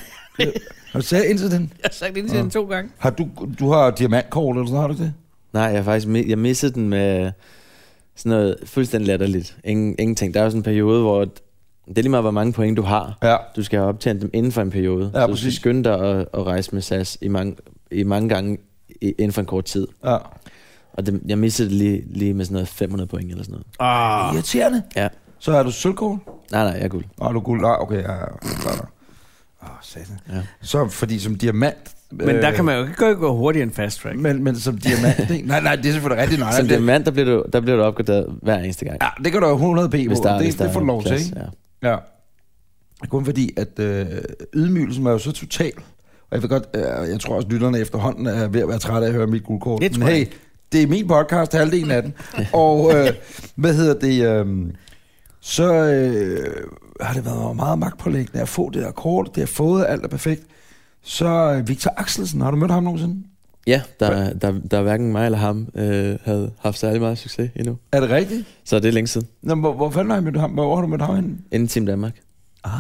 B: Har du sagt incident?
C: Jeg har sagt incident to gange.
B: Har du, du har diamantkort, eller sådan har du det?
D: Nej, jeg har faktisk mi- jeg missede den med sådan noget fuldstændig latterligt. Ingen, ingenting. Der er jo sådan en periode, hvor det er lige meget, hvor mange point du har.
B: Ja.
D: Du skal have optjent dem inden for en periode.
B: Ja,
D: så du skal
B: præcis.
D: skynde dig at, at rejse med SAS i mange, i mange gange i, inden for en kort tid.
B: ja.
D: Og det, jeg missede det lige, lige med sådan noget 500 point eller sådan noget.
C: Ah.
B: Irriterende.
D: Ja.
B: Så er du sølvkort?
D: Nej, nej, jeg er guld.
B: Åh, du er guld. Nej, okay. Ja, ja. Klar, klar. Åh, satan.
D: Ja.
B: Ja. Så fordi som diamant... øh,
C: Men der kan man jo ikke gå- gå hurtigere end fast track.
B: Men, men som diamant... det, nej, nej, det er selvfølgelig rigtigt. Nej,
D: Som
B: nej, det,
D: diamant, der bliver, du, der bliver du opgraderet hver eneste gang.
B: ja, det kan du jo 100 p på.
D: hvis der,
B: det,
D: hvis der
B: det får
D: er
B: du lov til,
D: plads,
B: ikke?
D: Ja.
B: Ja. Kun fordi, at øh, ydmygelsen var jo så total. Og jeg, vil godt, øh, jeg tror også, lytterne efterhånden er ved at være trætte af at høre mit guldkort.
C: Det tror
B: Men
C: jeg
B: hey, det er min podcast, halvdelen af den. og øh, hvad hedder det... Øh, så øh, har det været meget magtpålæggende at få det der kort. Det har fået, alt er perfekt. Så øh, Victor Axelsen, har du mødt ham nogensinde?
D: Ja, der, der, der hverken mig eller ham øh, havde haft særlig meget succes endnu.
B: Er det rigtigt?
D: Så det er længe siden.
B: Nå, hvor, hvor fanden har jeg mødt ham? Hvor har du mødt ham henne?
D: Inden Team Danmark.
B: Ah,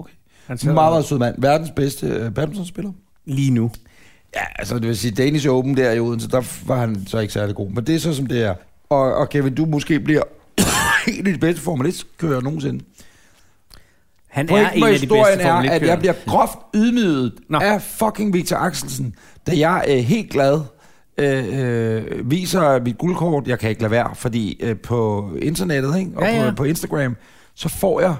B: okay.
C: Han sidder-
B: Meget, meget sød mand. Verdens bedste øh, badmintonspiller.
C: Lige nu.
B: Ja, altså det vil sige, Danish Open der i Odense, der var han så ikke særlig god. Men det er så, som det er. Og, og Kevin, du måske bliver en af de bedste Formel 1-kører nogensinde.
C: Han er
B: Pointen
C: en
B: med
C: af de bedste
B: historien er,
C: Formel
B: at
C: 1
B: jeg bliver groft ydmyget
C: Nå.
B: Nå. af fucking Victor Axelsen, da jeg øh, helt glad øh, øh, viser mit guldkort. Jeg kan ikke lade være, fordi øh, på internettet ikke? og
C: Ja,
B: ja,
C: ja.
B: ja. På, på Instagram, så får jeg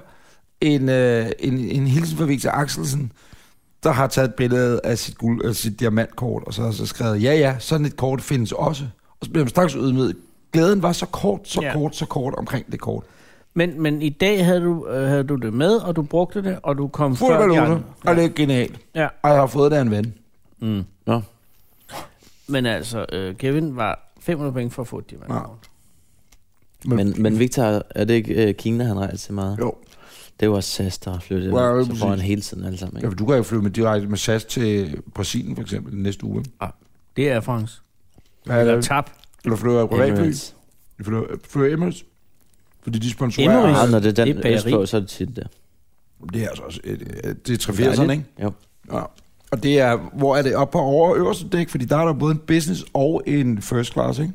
B: en, øh, en, en hilsen fra Victor Axelsen, der har taget et billede af sit, guld, øh, sit diamantkort, og så har så skrevet, ja ja, sådan et kort findes også. Og så blev jeg straks ydmyget. Glæden var så kort, så
C: Ja.
B: ja. kort, så kort omkring det kort.
C: Men, men i dag havde du, øh, havde du det med, og du brugte det, og du kom
B: Fuld
C: før de
B: valute,
C: andre.
B: og det er genialt.
C: Ja.
B: Og jeg har fået det af en ven.
C: Mm.
D: Nå,
C: Men altså, øh, Kevin var 500 point for at få et
B: Ja.
C: diamant.
D: men, men Victor, er det ikke øh, Kina, han rejser til meget?
B: Jo,
D: Det var SAS, der har flyttet
B: Ja,
D: well,
B: lige
D: Så får
B: præcis.
D: han hele tiden alle sammen.
B: ja,
D: Ikke?
B: for du kan jo flyve med direkte med SAS til Brasilien for eksempel den næste uge.
C: Det er France.
B: Ja,
C: Eller
B: eller,
C: tab.
B: eller flyver jeg privatfly.
D: Emirates.
B: Jeg flyver, flyver Emirates. Fordi de sponsorerer.
C: Emirates?
D: Ah, når det er den
C: Det er bageri.
D: østpå, så er det tit der.
B: Det er altså også et, et, det er 80'erne, ikke?
D: Jo.
B: Ja. Og det er, hvor er det oppe på over øverste dæk? Fordi der er der både en business og en first class, ikke?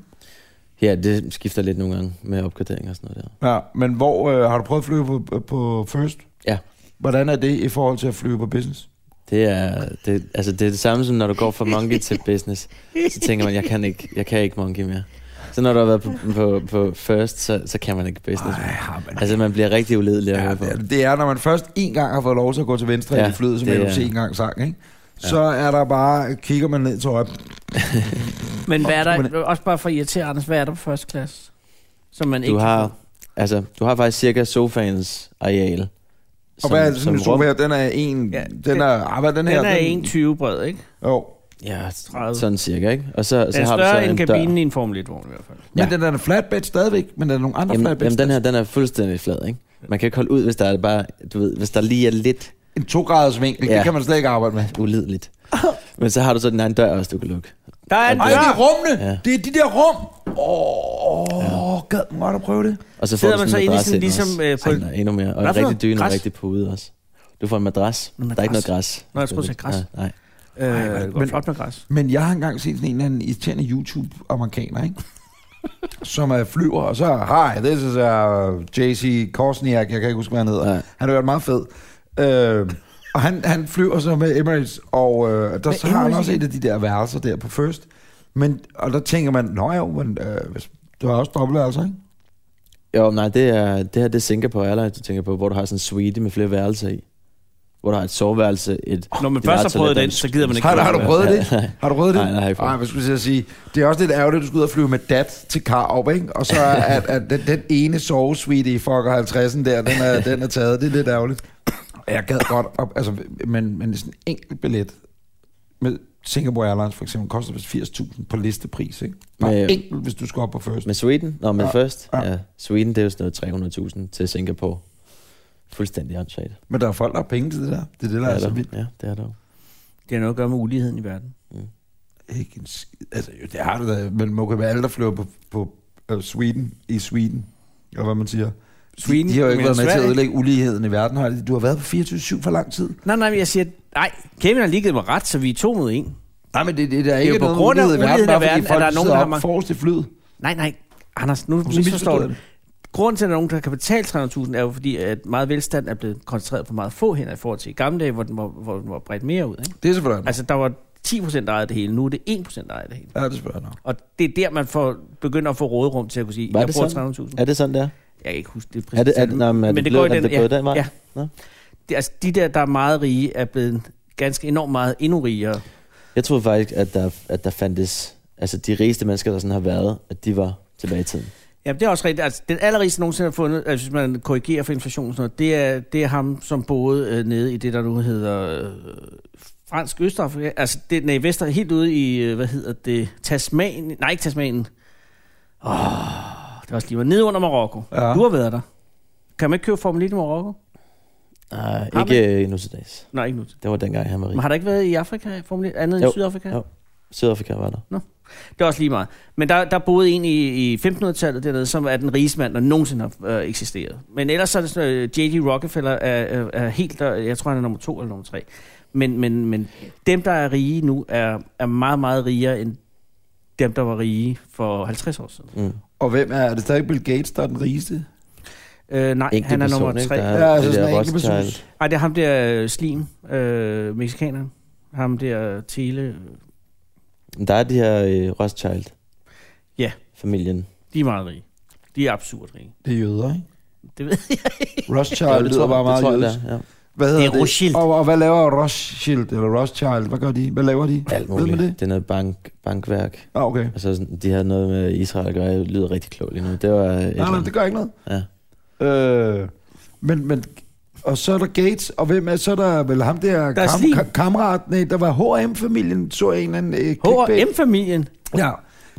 D: Ja, det skifter lidt nogle gange med opgradering og sådan noget der.
B: Ja, men hvor øh, har du prøvet at flyve på, på first?
D: Ja.
B: Hvordan er det i forhold til at flyve på business?
D: Det er det, altså det, er det samme som når du går fra monkey til business. Så tænker man, jeg kan ikke, jeg kan ikke monkey mere. Så når du har været på, på, på first, så, så kan man ikke business mere.
B: har man
D: Altså man bliver rigtig uledelig at
B: Ja,
D: høre på.
B: det, er, det. det er, når man først en gang har fået lov til at gå til venstre ja,
D: Ja,
B: i flyet, som
D: det
B: jeg
D: er-
B: se en gang sang, ikke? Så er der bare, kigger man ned til højre.
C: Men hvad er
B: men-
C: der, også bare for at irritere Anders, hvad er der på første klasse? Som man ikke
D: Du
C: kan
D: har,
C: få?
D: altså, du har faktisk cirka sofaens areal.
B: Og hvad er det, sådan en sofa her? Den er en...
C: Ja,
B: Ja, den,
C: den-
B: er... Ah, hvad er den her?
C: Den er 1,20 bred, ikke?
B: Jo.
D: Ja,
C: 30.
D: sådan cirka, ikke? Og så,
C: Den
D: så
C: er
D: har du så
C: større
D: en
C: end
D: dør.
C: kabinen i en Formel 1-vogn i hvert fald.
B: Men
D: Ja.
B: den er en flatbed stadigvæk, men der er nogle andre
D: Jamen,
B: flatbeds.
D: jamen, den her, den er fuldstændig flad, ikke? Man kan ikke holde ud, hvis der er bare, du ved, hvis der lige er lidt
B: En to-graders vinkel, ja.
D: Ja.
B: det kan man slet ikke arbejde med.
D: ulideligt. Men så har du så den her en dør også, du kan lukke.
C: Der er en
B: Ej, det er
C: dør!
B: rummene!
D: Ja.
B: Ja. Det er de der rum! Åh, oh, ja. gad man godt at prøve det.
D: Og så får
C: Sidder
D: du
C: man så
D: sådan en
C: inde i
D: madras
C: sådan ligesom,
D: også.
C: øh, på
D: Ej,
C: en-
D: nej, endnu mere. Og
C: Hvad
D: en
C: for
D: rigtig
C: noget?
D: dyne og
C: Græs?
D: en rigtig pude også. Du får en madras.
C: En
D: Der er ikke noget
C: madras.
D: græs.
C: Nå, jeg troede, du sagde græs.
D: Nej, nej.
C: Øh,
B: Ej,
C: det går
B: men-
C: flot med græs.
B: Men jeg har engang set sådan en eller anden irriterende YouTube-amerikaner, ikke? som er flyver, og så, hi, this is uh, JC Korsniak, jeg kan ikke huske, hvad han hedder.
D: Nej.
B: Han har været meget fed. Øh, og han, han flyver så med Emirates, og øh, der så har han
C: Emirates
B: også
C: igen?
B: et af de der værelser der på First. Men, og der tænker man, nå jo, men øh, hvis- du har også dobbeltværelser, ikke?
D: Jo, men nej, det, er, det her det er Singapore Airlines, du tænker på, hvor du har sådan en suite med flere værelser i. Hvor du har et soveværelse, et...
C: Når man
D: et
C: først har
D: værelse,
C: prøvet
D: der er
C: den,
D: en-
C: så gider man ikke.
B: Har, har du prøvet det?
D: Ja, nej.
B: Har du prøvet det?
D: Nej, nej, jeg har ikke prøvet
B: Ej, hvad skulle jeg til at sige? Det er også lidt ærgerligt, at du skal ud og flyve med dat til Karup, ikke? Og så er at, at den, den ene sovesuite i Fokker 50'en der, den er, den er taget. Det er lidt ærgerligt. Jeg gad godt op, altså, men, men sådan en enkelt billet med Singapore Airlines for eksempel, koster vist 80.000 på listepris, ikke? Bare
D: Med-
B: enkelt, hvis du skal op på first.
D: Med Sweden? Nå, men
B: Ja,
D: ja, først.
B: ja.
D: Ja. ja. Sweden, det er jo sådan noget 300.000 til Singapore. Fuldstændig åndssvagt.
B: Men der er folk, der har penge til det der. Det er det, der
D: Det
B: er,
D: er
B: så
D: der.
B: vildt.
D: Ja, det er der. jo.
C: Det har noget at gøre med uligheden i verden.
B: Ikke en skid. Altså, jo, det har du da, men må være alle, der flyver på, på øh, Sweden, i Sweden, eller hvad man siger.
C: Sweden,
B: de, de har jo ikke
C: men
B: været med til at
C: Sverige.
B: ødelægge uligheden i verden, har de? Du har været på 24-7 for lang tid.
C: Nej, nej, men jeg siger, nej, Kevin har lige givet mig ret, så vi er to mod en.
B: Nej, men det, det, der er ikke
C: jo på
B: noget
C: grund af
B: ulighed i verden,
C: uligheden i
B: bare fordi
C: verden,
B: folk
C: at der er nogen,
B: sidder
C: der har
B: op
C: mange-
B: forrest i flyet.
C: Nej, nej, Anders, nu
B: så misforstår
C: misforstår
B: jeg
C: du. Grunden til, at der er nogen, der kan betale 300.000, er jo fordi, at meget velstand er blevet koncentreret på meget få hænder i forhold til i gamle dage, hvor den var, hvor den var bredt mere ud. Ikke?
B: Det er selvfølgelig altså,
C: Altså, der var 10 procent ejet af det hele, nu er det 1 procent ejet af det hele.
B: Ja, det er selvfølgelig nok.
C: Og det er der, man får, begynder at få råderum til at kunne sige,
D: Var
C: jeg
D: det
C: bruger
D: sådan?
C: 300.000.
D: Er det sådan, der?
C: Jeg kan ikke huske det præcis.
D: Er det, er, det, nej, men er det, blevet- er det gået den vej?
C: Ja.
D: Nå.
C: Det, altså, de der, der er meget rige, er blevet ganske enormt meget endnu rigere.
D: Jeg troede faktisk, at der, at der fandtes... Altså, de rigeste mennesker, der sådan har været, at de var tilbage i tiden.
C: Ja, det er også rigtigt. Altså, den allerrigeste nogensinde har fundet, altså, hvis man korrigerer for inflation og sådan noget, det er, det er ham, som boede øh, nede i det, der nu hedder øh, fransk Østafrika, altså det, nej, Vester, helt ude i, øh, hvad hedder det, Tasmanien, nej ikke Tasmanien, åh, det var også lige var nede under Marokko. Ja.
B: Ja.
C: Du har været der. Kan man ikke købe Formel 1 i Marokko?
D: Nej, ikke øh, nu til dags.
C: Nej, ikke nu.
D: Det var dengang, han var
C: Men
D: rig.
C: har der ikke været i Afrika, Formel 1, andet jo.
D: Jo.
C: end Sydafrika?
D: Jo. Sydafrika var der.
C: Det er også lige meget. Men der, der boede en i, i 1500-tallet dernede, som er den rigeste mand, der nogensinde har øh, eksisteret. Men ellers så er det sådan, øh, J.D. Rockefeller er, er, er helt der, jeg tror han er nummer to eller nummer tre. Men, men, men dem, der er rige nu, er, er meget, meget rigere end dem, der var rige for 50 år siden.
D: Mm.
B: Og hvem er, er det stadig Bill Gates, der er den rigeste?
C: Øh, nej,
D: Enkelt
C: han er
D: person,
C: nummer
D: ikke?
C: tre.
D: Der
C: Nej,
D: er
B: Ja, altså
D: det
B: sådan
D: der
B: en
D: Rothschild.
B: enkeltpersons.
C: det er ham der øh, Slim, øh, mexikaneren. Ham der Tele,
D: Men Der er de her øh, Rothschild.
C: Ja.
D: Familien.
C: de er meget rige. De er absurd rige.
B: Det er jøder, ikke?
C: Det ved jeg.
B: Rothschild
D: Jo,
B: det lyder
D: tror-
B: bare meget
D: tror jeg,
B: jødisk.
D: det er, ja.
B: Hvad hedder
C: Det er Rothschild.
B: Og, og hvad laver Rothschild, eller Rothschild? Hvad gør de? Hvad laver de?
D: Alt
B: Ved man
D: muligt.
B: det?
D: Det er noget bank, bankværk.
B: Ah, okay.
D: Altså, sådan- de havde noget med Israel at gøre. Jeg lyder rigtig klog lige nu. Det var et eller
B: Nej, nej,
D: andet.
B: det gør ikke noget.
D: Ja.
B: Øh, men, men, og så er der Gates, og hvem er, så er der vel ham der,
C: Der er Slim.
B: kam, ka, kammerat, nej, der var H&M-familien, så jeg en eller anden øh, clickbait.
C: H&M-familien.
B: Ja,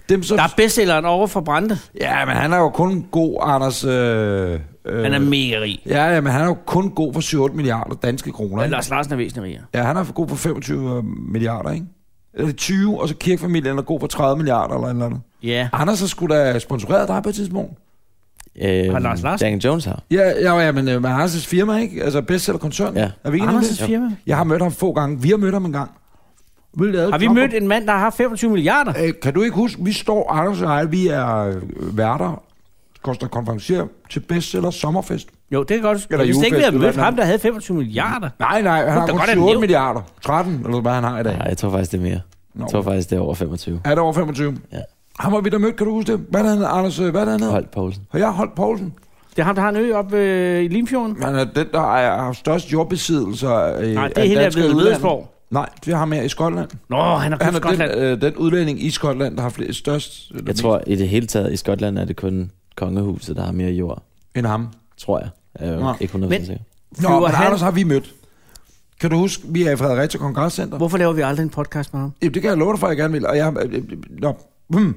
B: dem som,
C: Der er bestselleren over for Brande.
B: ja, men han er jo kun god, Anders. Øh, øh,
C: Han er mega rig.
B: Ja, ja, men han er jo kun god for 7-8 milliarder danske kroner.
C: Men
B: Ikke?
C: Lars Larsen er væsentligt rigere.
B: Ja, han er for god for 25 milliarder, ikke? Eller 20, og så kirkefamilien er god for 30 milliarder eller et eller andet.
C: Ja.
B: Anders har skulle da sponsoreret dig på et tidspunkt.
D: Øh,
C: Har Lars Larsen?
D: Daniel Jones har.
B: Ja, ja, ja men øh, med Anders' firma, ikke? Altså bestseller-koncernen.
D: Ja.
B: Er vi enige om det?
C: Anders' firma.
B: Jeg har mødt ham få gange. Vi har mødt ham en gang. Vi lavede
C: Har vi
B: Trump-
C: mødt en mand, der har haft 25 milliarder?
B: Øh, kan du ikke huske, vi står, Anders og jeg, vi er øh, værter, koster konferencier til bestseller sommerfest.
C: Jo, det kan godt. huske.
B: Eller
C: Jeg vidste ikke, vi havde
B: julefest,
C: mødt
B: eller
C: ham, der havde 25 milliarder.
B: Nej, nej, han
C: da
B: har
C: godt,
B: kun
C: han
B: 28
C: nævnt.
B: milliarder. 13, eller hvad han har i dag.
D: Nej, jeg tror faktisk, det er mere.
B: Nå,
D: Jeg tror faktisk, det er over 25.
B: Er det over 25?
D: Ja.
B: Ham har vi da mødt, kan du huske det? Hvad er det, han, Anders? øh, Hvad er det, han hedder?
D: Holdt Poulsen.
B: Har jeg holdt Poulsen?
C: Det er ham, der har en ø op øh, i Limfjorden.
B: Han er den, der ejer, har størst jordbesiddelser. Øh,
C: Nej, det er
B: af
C: hende, der er
B: danskere i
C: blevet
B: udlandet.
C: Lødesborg.
B: Nej, det er ham her i Skotland.
C: Nå, han har
B: Han er
C: købt Skotland.
B: den, øh, den udlænding i Skotland, der har flest, størst... eller
D: Jeg
B: mest
D: tror, i det hele taget i Skotland er det kun kongehuset, der har mere jord.
B: End ham.
D: Tror jeg. Jeg er jo
B: Nå.
D: ikke 100%
C: Men-
D: sikker.
B: Nå,
C: Flyver
B: men
C: han-
B: han... Anders har vi mødt. Kan du huske, vi er i Fredericia Kongresscenter?
C: Hvorfor laver vi aldrig en podcast med ham?
B: Jamen, det kan jeg love dig for, jeg gerne vil. Og jeg, øh, øh, nå, hmm.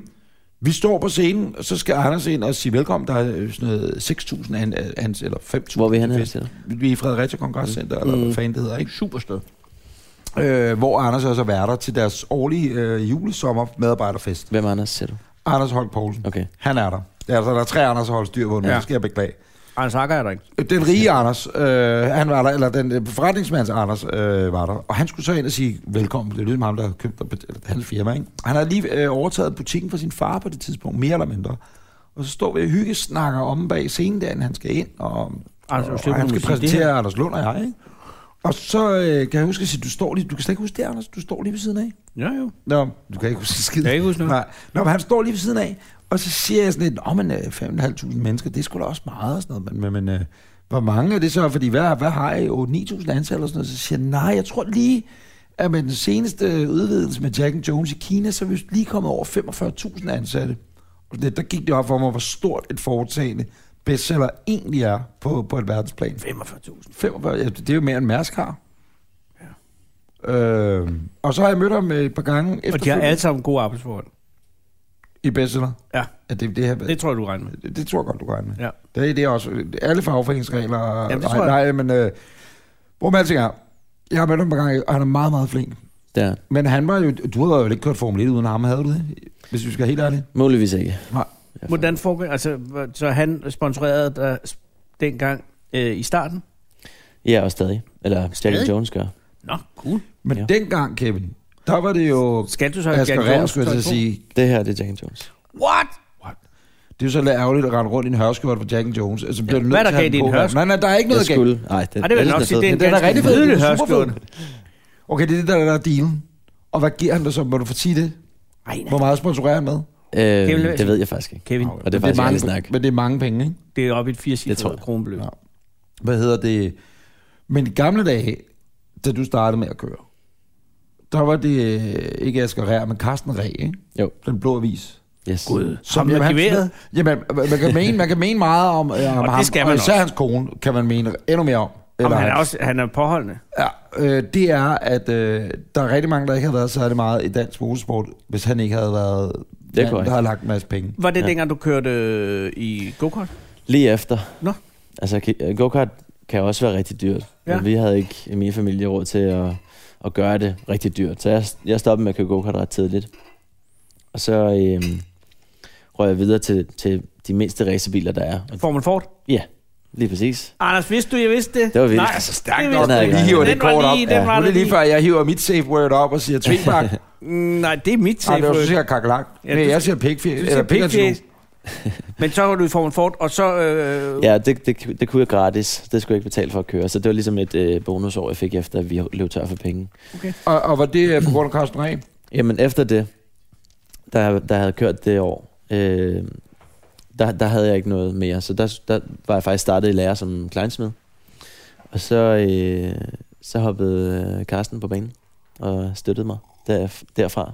B: Vi står på scenen, og så skal Anders ind og sige velkommen. Der er øh, sådan noget 6.000 an, hans, eller 5.000.
D: Hvor er vi henne her,
B: fest.
D: siger du?
B: Vi er i Fredericia Kongresscenter, mm. eller hvad fanden det hedder, ikke?
C: Supersted.
B: Øh, hvor Anders også er værter til deres årlige øh, julesommer medarbejderfest.
D: Hvem Anders, siger du?
B: Anders Holk Poulsen.
D: Okay.
B: Han er der. Altså, der er tre Anders Holk styr på nu,
C: Ja.
B: ja. det skal jeg beklage.
C: Anders Akker er der ikke.
B: Den rige Anders, øh, han var der, eller den øh, forretningsmands Anders øh, var der, og han skulle så ind og sige velkommen. Det lyder som ham, der købte og betalte hans firma, ikke? Han havde lige øh, overtaget butikken fra sin far på det tidspunkt, mere eller mindre. Og så står vi og hygge snakker om bag scenen, der han skal ind, og,
C: Anders,
B: og,
C: du
B: og
C: slipper
B: han
C: nu
B: skal
C: at sige Altså, det
B: præsentere
C: her.
B: Anders Lund og jeg, ikke? Og så øh, kan jeg huske at sige, du står lige, du kan slet ikke huske det, Anders, du står lige ved siden af.
C: Ja, jo.
B: Nå, du kan ikke huske skid.
C: Jeg kan ikke huske noget.
B: Nej. Nå, men han står lige ved siden af, og så siger jeg sådan lidt, åh, men øh, 5.500 mennesker, det er sgu da også meget og sådan noget, men, men, men øh, hvor mange er det så? Fordi hvad, hvad har I? 8-9.000 ansatte eller sådan noget? Så siger jeg, nej, jeg tror lige, at med den seneste udvidelse med Jack and Jones i Kina, så er vi vist lige kommet over 45.000 ansatte. Og det, der gik det op for mig, hvor stort et foretagende bestseller egentlig er på, på et verdensplan.
C: 45.000.
B: 45, ja, det er jo mere end Mærsk har. Øh, og så har jeg mødt ham øh, et par gange
C: Og de har
B: efterfølgende
C: alle sammen gode arbejdsforhold.
B: i bestseller.
C: Ja,
B: Ja, det, det, her,
C: det
B: det,
C: tror jeg, du regner med.
B: det, det tror jeg godt, du gør med.
C: Ja.
B: Det, det er også alle fagforeningsregler.
C: Jamen, det
B: nej,
C: tror jeg.
B: nej, men øh, hvor man alting er. Jeg har mødt ham et par gange, og han er meget, meget flink.
D: Der.
B: Men han var jo, du havde jo ikke kørt Formel 1 uden ham, havde du det? Hvis vi skal være helt ærlige.
D: Muligvis ikke.
B: Nej.
C: Hvordan foregår... Altså, hvor- så han sponsorerede dig s- dengang øh, i starten?
D: Ja, og stadig. Eller Jack
C: Stadig?
D: and Jones gør.
C: Nå, cool.
B: Men
D: Ja.
B: ja. dengang, Kevin, der var det jo...
C: Skal du så have
B: Asger
C: Jack
B: Rehn,
C: Jones
B: skulle jeg til at
C: tøj på?
B: sige.
D: Det her, det er Jack and Jones.
C: What?
B: Det er jo så lidt ærgerligt at rende rundt i en hørskjort for Jack and Jones. Altså, bliver ja, du
C: hvad
B: nødt
C: der
B: til at have
C: gav
B: den
C: det en
B: på her?
C: hørsk-
B: Nej, nej, der er ikke
D: Jeg
B: noget, der gav.
D: skulle... Ej, det,
C: Ej, det vil jeg
D: er
C: nok sige,
D: sådan
C: det er
D: noget
C: en
B: Men den er rigtig
C: ganske
B: fed,
C: nydelig
B: den er super
C: hørskjorte.
B: Okay, det er det, der, der er dealen. Og hvad giver han dig så? Må du få sige det?
C: Ej, nej.
B: Hvor meget sponsorerer han med?
D: fed.
C: Kevin
D: øh,
C: Lauritzen.
D: det ved jeg faktisk ikke.
C: Kevin,
D: Og det er faktisk
B: mange,
D: ærlig snak.
B: men det er mange penge, ikke?
C: det er oppe i et
D: Det tror
C: 84
D: jeg.
C: kronebeløb.
B: Ja. Hvad hedder det? Men i gamle dage, da du startede med at køre, der var det øh, ikke Asger Rær, men Carsten Ræ, ikke?
D: Jo.
B: Den blå avis.
D: Yes.
C: Som
B: jamen, han
C: arkiverede?
B: smed- Jamen, man kan, mene, man kan mene meget om, øh, om
C: Og det
B: ham,
C: skal
B: og
C: man
B: især
C: også.
B: hans kone kan man mene endnu mere om.
C: Jamen, han er
B: ej.
C: også han er påholdende.
B: Ja, øh, det er, at øh, der er rigtig mange, der ikke har været særlig meget i dansk motorsport, hvis han ikke havde været
D: Det er
B: manden,
D: korrekt.
B: der har lagt en masse penge.
C: Var det ja.
D: Ja.
C: dengang, du kørte øh, i go-kart?
D: Lige efter.
C: Nå.
D: Altså, kan- go-kart kan også være rigtig dyrt.
C: Ja.
D: Ja. Men vi havde ikke i min familie råd til at, at gøre det rigtig dyrt. Så jeg, jeg stoppede med at køre go-kart ret tidligt. Og så øhm, røg jeg videre til, til de mindste racerbiler, der er. Og,
C: Formel Ford?
D: ja, lige præcis.
C: Anders, vidste du, jeg vidste det?
D: Det var vildt.
C: Nej,
D: Altså,
B: stærkt
C: det
B: nok,
C: vidste
D: at
C: jeg
D: I
C: ikke.
D: hiver
B: det
C: Den var
B: kort op.
C: lige, den var
B: Nu er
C: der
B: det lige
C: lige.
B: før, jeg hiver mit safe word op og siger tvingbak. Nej,
C: Mm, Nej, det er mit safe
B: det var, du
C: word.
B: siger kakalak.
C: Ja,
B: Ja,
C: du
B: Nej, jeg siger
C: siger-
B: pikfjæs.
C: Du
B: Eller
C: siger
B: pikfjæs.
C: pikfjæs. Men så var du i Formel Ford, og så... Øh,
D: Ja, det, det, det kunne jeg gratis. Det skulle jeg ikke betale for at køre. Så det var ligesom et øh, bonusår, jeg fik efter, at vi løb tør for penge.
B: Og, og var det øh, på grund af Carsten Reh?
D: Jamen efter det, der, der havde kørt det år, øh, der, der havde jeg ikke noget mere. Så der, der var jeg faktisk startet i lære som kleinsmed. Og så, øh, så hoppede øh, Karsten på banen og støttede mig der, derfra.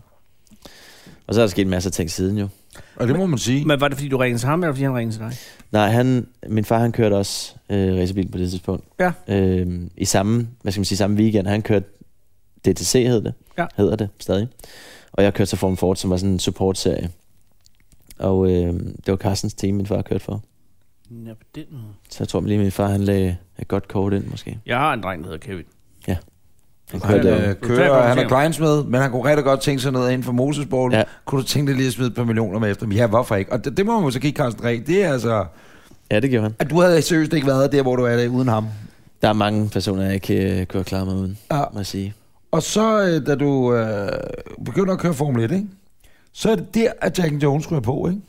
D: Og så er der sket masser af ting siden jo.
B: Og det må man sige.
C: Men var det, fordi du ringede til ham, eller fordi han ringede til dig?
D: Nej, han, min far han kørte også øh, racerbil på det tidspunkt.
C: Ja.
D: Øh, I samme, hvad skal man sige, samme weekend. Han kørte DTC hed det,
C: Ja.
D: hedder det stadig. Og jeg kørte så Formel Ford, som var sådan en supportserie. Og øh, det var Carstens team, min far kørte for.
C: Ja, på den måde.
D: Så jeg tror lige, min far han lagde et godt kort ind måske.
C: Jeg har en dreng, der hedder Kevin.
D: Han
B: Han
D: kørte,
B: øh,
D: øh,
B: kører, og han er kleinsmed, men han kunne rigtig godt tænke sig noget inden for motorsporten. Ja.
D: Ja.
B: Kunne du tænke dig lige at smide et par millioner med efter dem? Ja, hvorfor ikke? Og det, det må man så give Carsten Reh. Det er altså...
D: ja, det gjorde han.
B: At du havde seriøst ikke været der, hvor du er der, uden ham.
D: Der er mange personer, jeg ikke øh, kunne have klaret mig uden,
B: Ja.
D: må jeg sige.
B: Og så, øh, da du øh, begynder at køre Formel 1, ikke? så er det der, at Jack and Jones ryger på, ikke?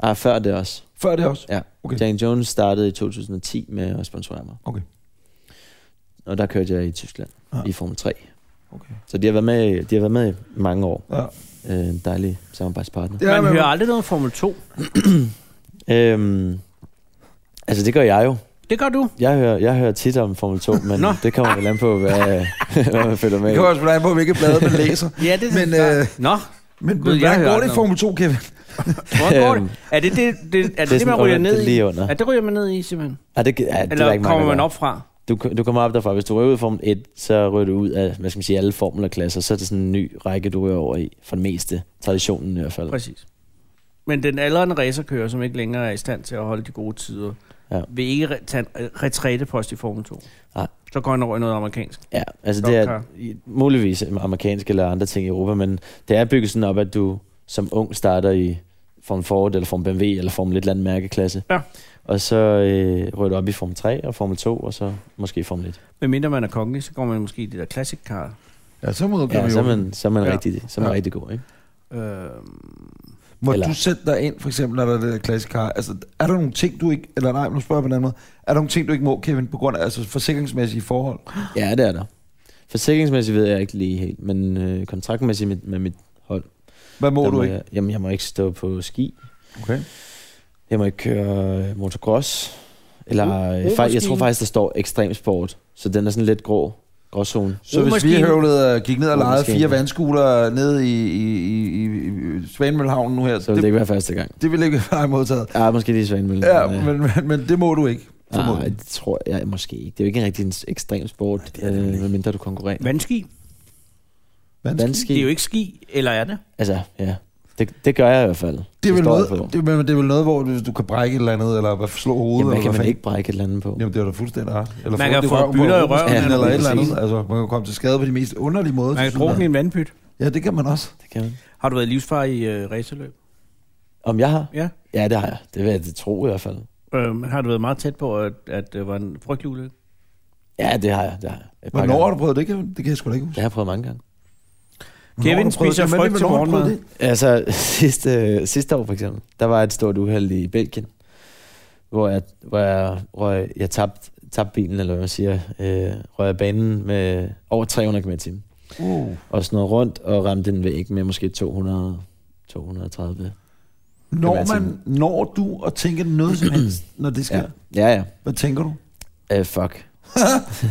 D: Ah, før det også.
B: Før det også.
D: Ja.
B: Okay.
D: Okay. Dan Jones startede i 2010 med at sponsorere mig.
B: Okay.
D: Og der kørte jeg i Tyskland
B: Ja.
D: ja. i Formel 3.
B: Okay.
D: Så de har været med, de har været med i mange år.
B: Ja.
D: Øh, en dejlig samarbejdspartner.
C: Man
B: men-
C: hører aldrig noget om Formel 2.
D: Øhm, altså, det gør jeg jo.
C: Det gør du.
D: Jeg hører, jeg hører tit om Formel 2, men
C: Nå.
D: det kommer vel an på, hvad, hvad man følger med
B: Det
D: i.
B: kommer også blandt på, hvilke blade man læser.
C: Ja, det
B: Men,
C: klart.
B: øh,
C: Nå,
B: Men
C: Gud, jeg
B: hvordan
C: hører
B: går det i
C: noget.
B: Formel 2, Kevin?
C: hvor går
D: Øhm,
C: det? Er det det, det, er det,
D: det er
C: det, man
D: sådan
C: ryger
D: under-
C: ned
D: det er
C: i?
D: lige under.
C: Er det ryger man ned i, simpelthen?
D: Ah, det, ah, det er der
C: Eller
D: ikke mange,
C: kommer
D: der
C: man
D: gør.
C: op fra?
D: Du, du kommer op derfra. Hvis du ryger ud af Formel 1, så ryger du ud af hvad skal man sige, alle formulerklasser. Så er det sådan en ny række, du ryger over i, for det meste. Traditionen i hvert fald.
C: Præcis. Men den aldrende racerkører, som ikke længere er i stand til at holde de gode tider, ja.
D: Ja.
C: vil ikke re- tage en øh, retrætepost i Formel 2.
D: Nej.
C: Så går han over i noget amerikansk.
D: Ja, altså det
C: Stokkar.
D: er i- muligvis amerikansk eller andre ting i Europa, men det er bygget sådan op, at du som ung starter i Form Ford eller Form BMW eller Form et eller andet mærkeklasse.
C: Ja.
D: Og så øh, rører du op i Form 3 og Form 2, og så måske Form 1.
C: Men mindre man er kongelig, så går man måske i det der classic car.
B: Ja, så må du
D: Ja, så er man, så er man,
C: Ja.
D: ja. rigtig, så er man
B: Ja.
D: ja. rigtig god, ikke?
C: Øhm,
B: Må
D: Eller-
B: du sætte dig ind, for eksempel, når der er det der klassikar? Altså, er der nogle ting, du ikke... Eller nej, nu spørger jeg på en anden måde. Er der nogle ting, du ikke må, Kevin, på grund af altså, forsikringsmæssige forhold?
D: Ja, det er der. Forsikringsmæssigt ved jeg ikke lige helt, men øh, kontraktmæssigt med, med mit hold.
B: Hvad må
D: der
B: du
D: må
B: ikke?
D: Jeg, jamen, jeg må ikke stå på ski.
B: Okay.
D: Jeg må ikke køre øh, motocross. Eller,
C: Ro-
D: øh, fej, jeg tror
C: romaskine.
D: faktisk, der står ekstremsport, så den er sådan lidt grå, gråzone.
B: Så hvis vi
C: Romaskinen.
B: høvlede og gik ned og lejede
D: Romaskinen.
B: fire vandskuler ned i, i, i, i, i Svanemøllehavnen nu her,
D: Så vil det, det
B: det,
D: ikke være første gang.
B: det ville ikke være modtaget.
D: Ja, måske lige Svanemøllen.
B: Ja, men, men, men det må du ikke.
D: Nej,
B: formodentlig.
D: øh, ah, det tror jeg måske ikke. Det er jo ikke en rigtig en s- ekstrem sport, øh, medmindre du konkurrerer.
C: vandski?
D: Vandski.
C: Det er jo ikke ski, eller er det?
D: Altså, ja. Det, det gør jeg i hvert fald.
B: Det er, vel
D: står
B: noget,
D: jeg på.
B: det, men det er vel noget, hvor hvis du kan brække et eller andet, eller hvad, slå hovedet,
D: Jamen, hvad
B: eller
D: kan
B: hvad
D: man
B: fanden-
D: ikke brække et eller andet på?
B: Jamen, det er da fuldstændig ret. Eller
C: Man
B: få
C: kan
B: det
C: få
B: røven på
C: bytter i
B: hovedmaskinen
D: røven,
B: Eller et
D: eller
B: eller
D: noget.
B: andet. Altså, man kan komme til skade på de mest underlige måder.
C: Man kan
B: til
C: drukne i
B: synligheden.
C: en vandpyt.
B: Ja, det kan man også.
D: Det kan man.
C: Har du været livsfar i øh, racerløb?
D: Om jeg har?
C: Ja.
D: Ja, det har jeg. Det vil jeg det tro i hvert fald.
C: Øhm, har du været meget tæt på, at, at det var en frygtelig ulykke?
D: Ja, det har jeg. Det har jeg. Et par
B: Hvornår har
D: gange.
B: du prøvet det? Kevin? Det kan jeg sgu da ikke
D: Det
B: huske.
D: har jeg prøvet mange gange.
B: Hvornår har
C: Kevin
B: du prøvet
C: spiser
B: det? Men
C: frygt til
B: hvornår har du prøvet
C: morgenmad.
B: det?
D: Altså, sidste, sidste år for eksempel, der var et stort uheld i Belgien, hvor jeg, hvor jeg, hvor jeg, jeg tabte tabte bilen, eller hvad man siger, øh, røg af banen med over 300 km i timen.
B: Uh.
D: og snod rundt og ramte den væg med måske 200, 230.
B: Når,
D: Det var
B: man, når du at tænke noget som helst, når det sker?
D: Ja, ja. ja.
B: Hvad tænker du?
D: Uh, fuck.
B: Ja,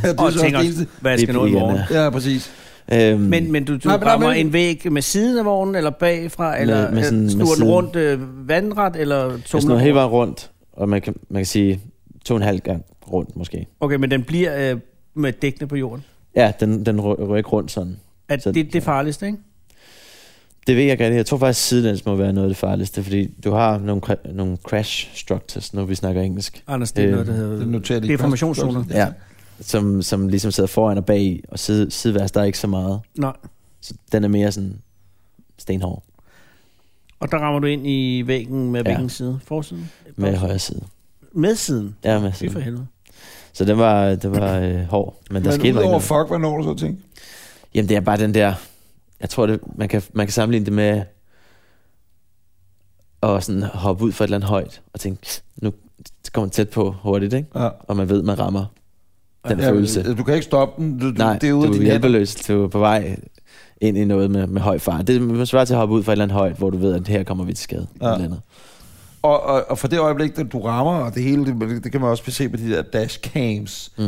B: det
C: Og
B: så
C: tænker,
B: også det eneste.
C: hvad jeg
D: Det
C: skal nå i
D: bliver
C: morgen?
D: irriterende.
B: Ja, præcis.
D: Øhm,
C: Men, men du, du
B: Nej,
C: nej,
B: men der er
C: rammer
B: vel-
C: en væg med siden af vognen, eller bagfra, eller med,
D: med sådan-
C: sådan,
D: med
C: snur den
D: siden.
C: rundt øh, vandret, eller
D: jeg snod
C: tumler?
D: hele vejen rundt, og man kan, man kan sige to og en halv gang rundt måske.
C: Okay, men den bliver øh, med dækkene på jorden.
D: Ja, den, den ry- rykker ikke rundt sådan.
C: At
D: Så-
C: det, det er farligst, ikke?
D: Det ved jeg ikke rigtig. Jeg tror faktisk, sidelæns må være noget af det farligste, fordi du har nogle, cra- nogle crash structures, når vi snakker engelsk,
C: Anders, det er
D: Øh,
C: noget, der hedder...
B: Det noterer de
C: Deformationszoner.
B: første-
D: ja. som, som ligesom sidder foran og bag, og side, sideværs, der er ikke så meget.
C: Nej.
D: Så den er mere sådan stenhård
C: Og der rammer du ind i væggen med
D: Ja.
C: hvilken side? Forsiden?
D: med højre side.
C: Med siden?
D: Ja, med
C: Fy for
D: siden.
C: helvede.
D: Så den var, den var øh, hård, men der
B: Men
D: skete bare ikke
B: udover
D: noget.
B: fuck, hvornår har du så tænkt?
D: Jamen, det er bare den der... Jeg tror, det, man, kan, man kan sammenligne det med at sådan hoppe ud fra et eller andet højt og tænke, nu kommer den tæt på hurtigt, ikke?
B: Ja.
D: Og man ved, man rammer den ja, følelse.
B: øh, Du kan ikke stoppe den. Du, du,
D: Nej,
B: det er ude af
D: du
B: din
D: er
B: hjælp.
D: hjælpeløs. Du er på vej ind i noget med, med høj fart. Det er svært til at hoppe ud fra et eller andet højt, hvor du ved, at her kommer vi til skade.
B: Ja.
D: Ja. Eller andet.
B: Og, og, og fra det øjeblik, da du rammer, og det hele, det, det kan man også se på de der dashcams. Mm.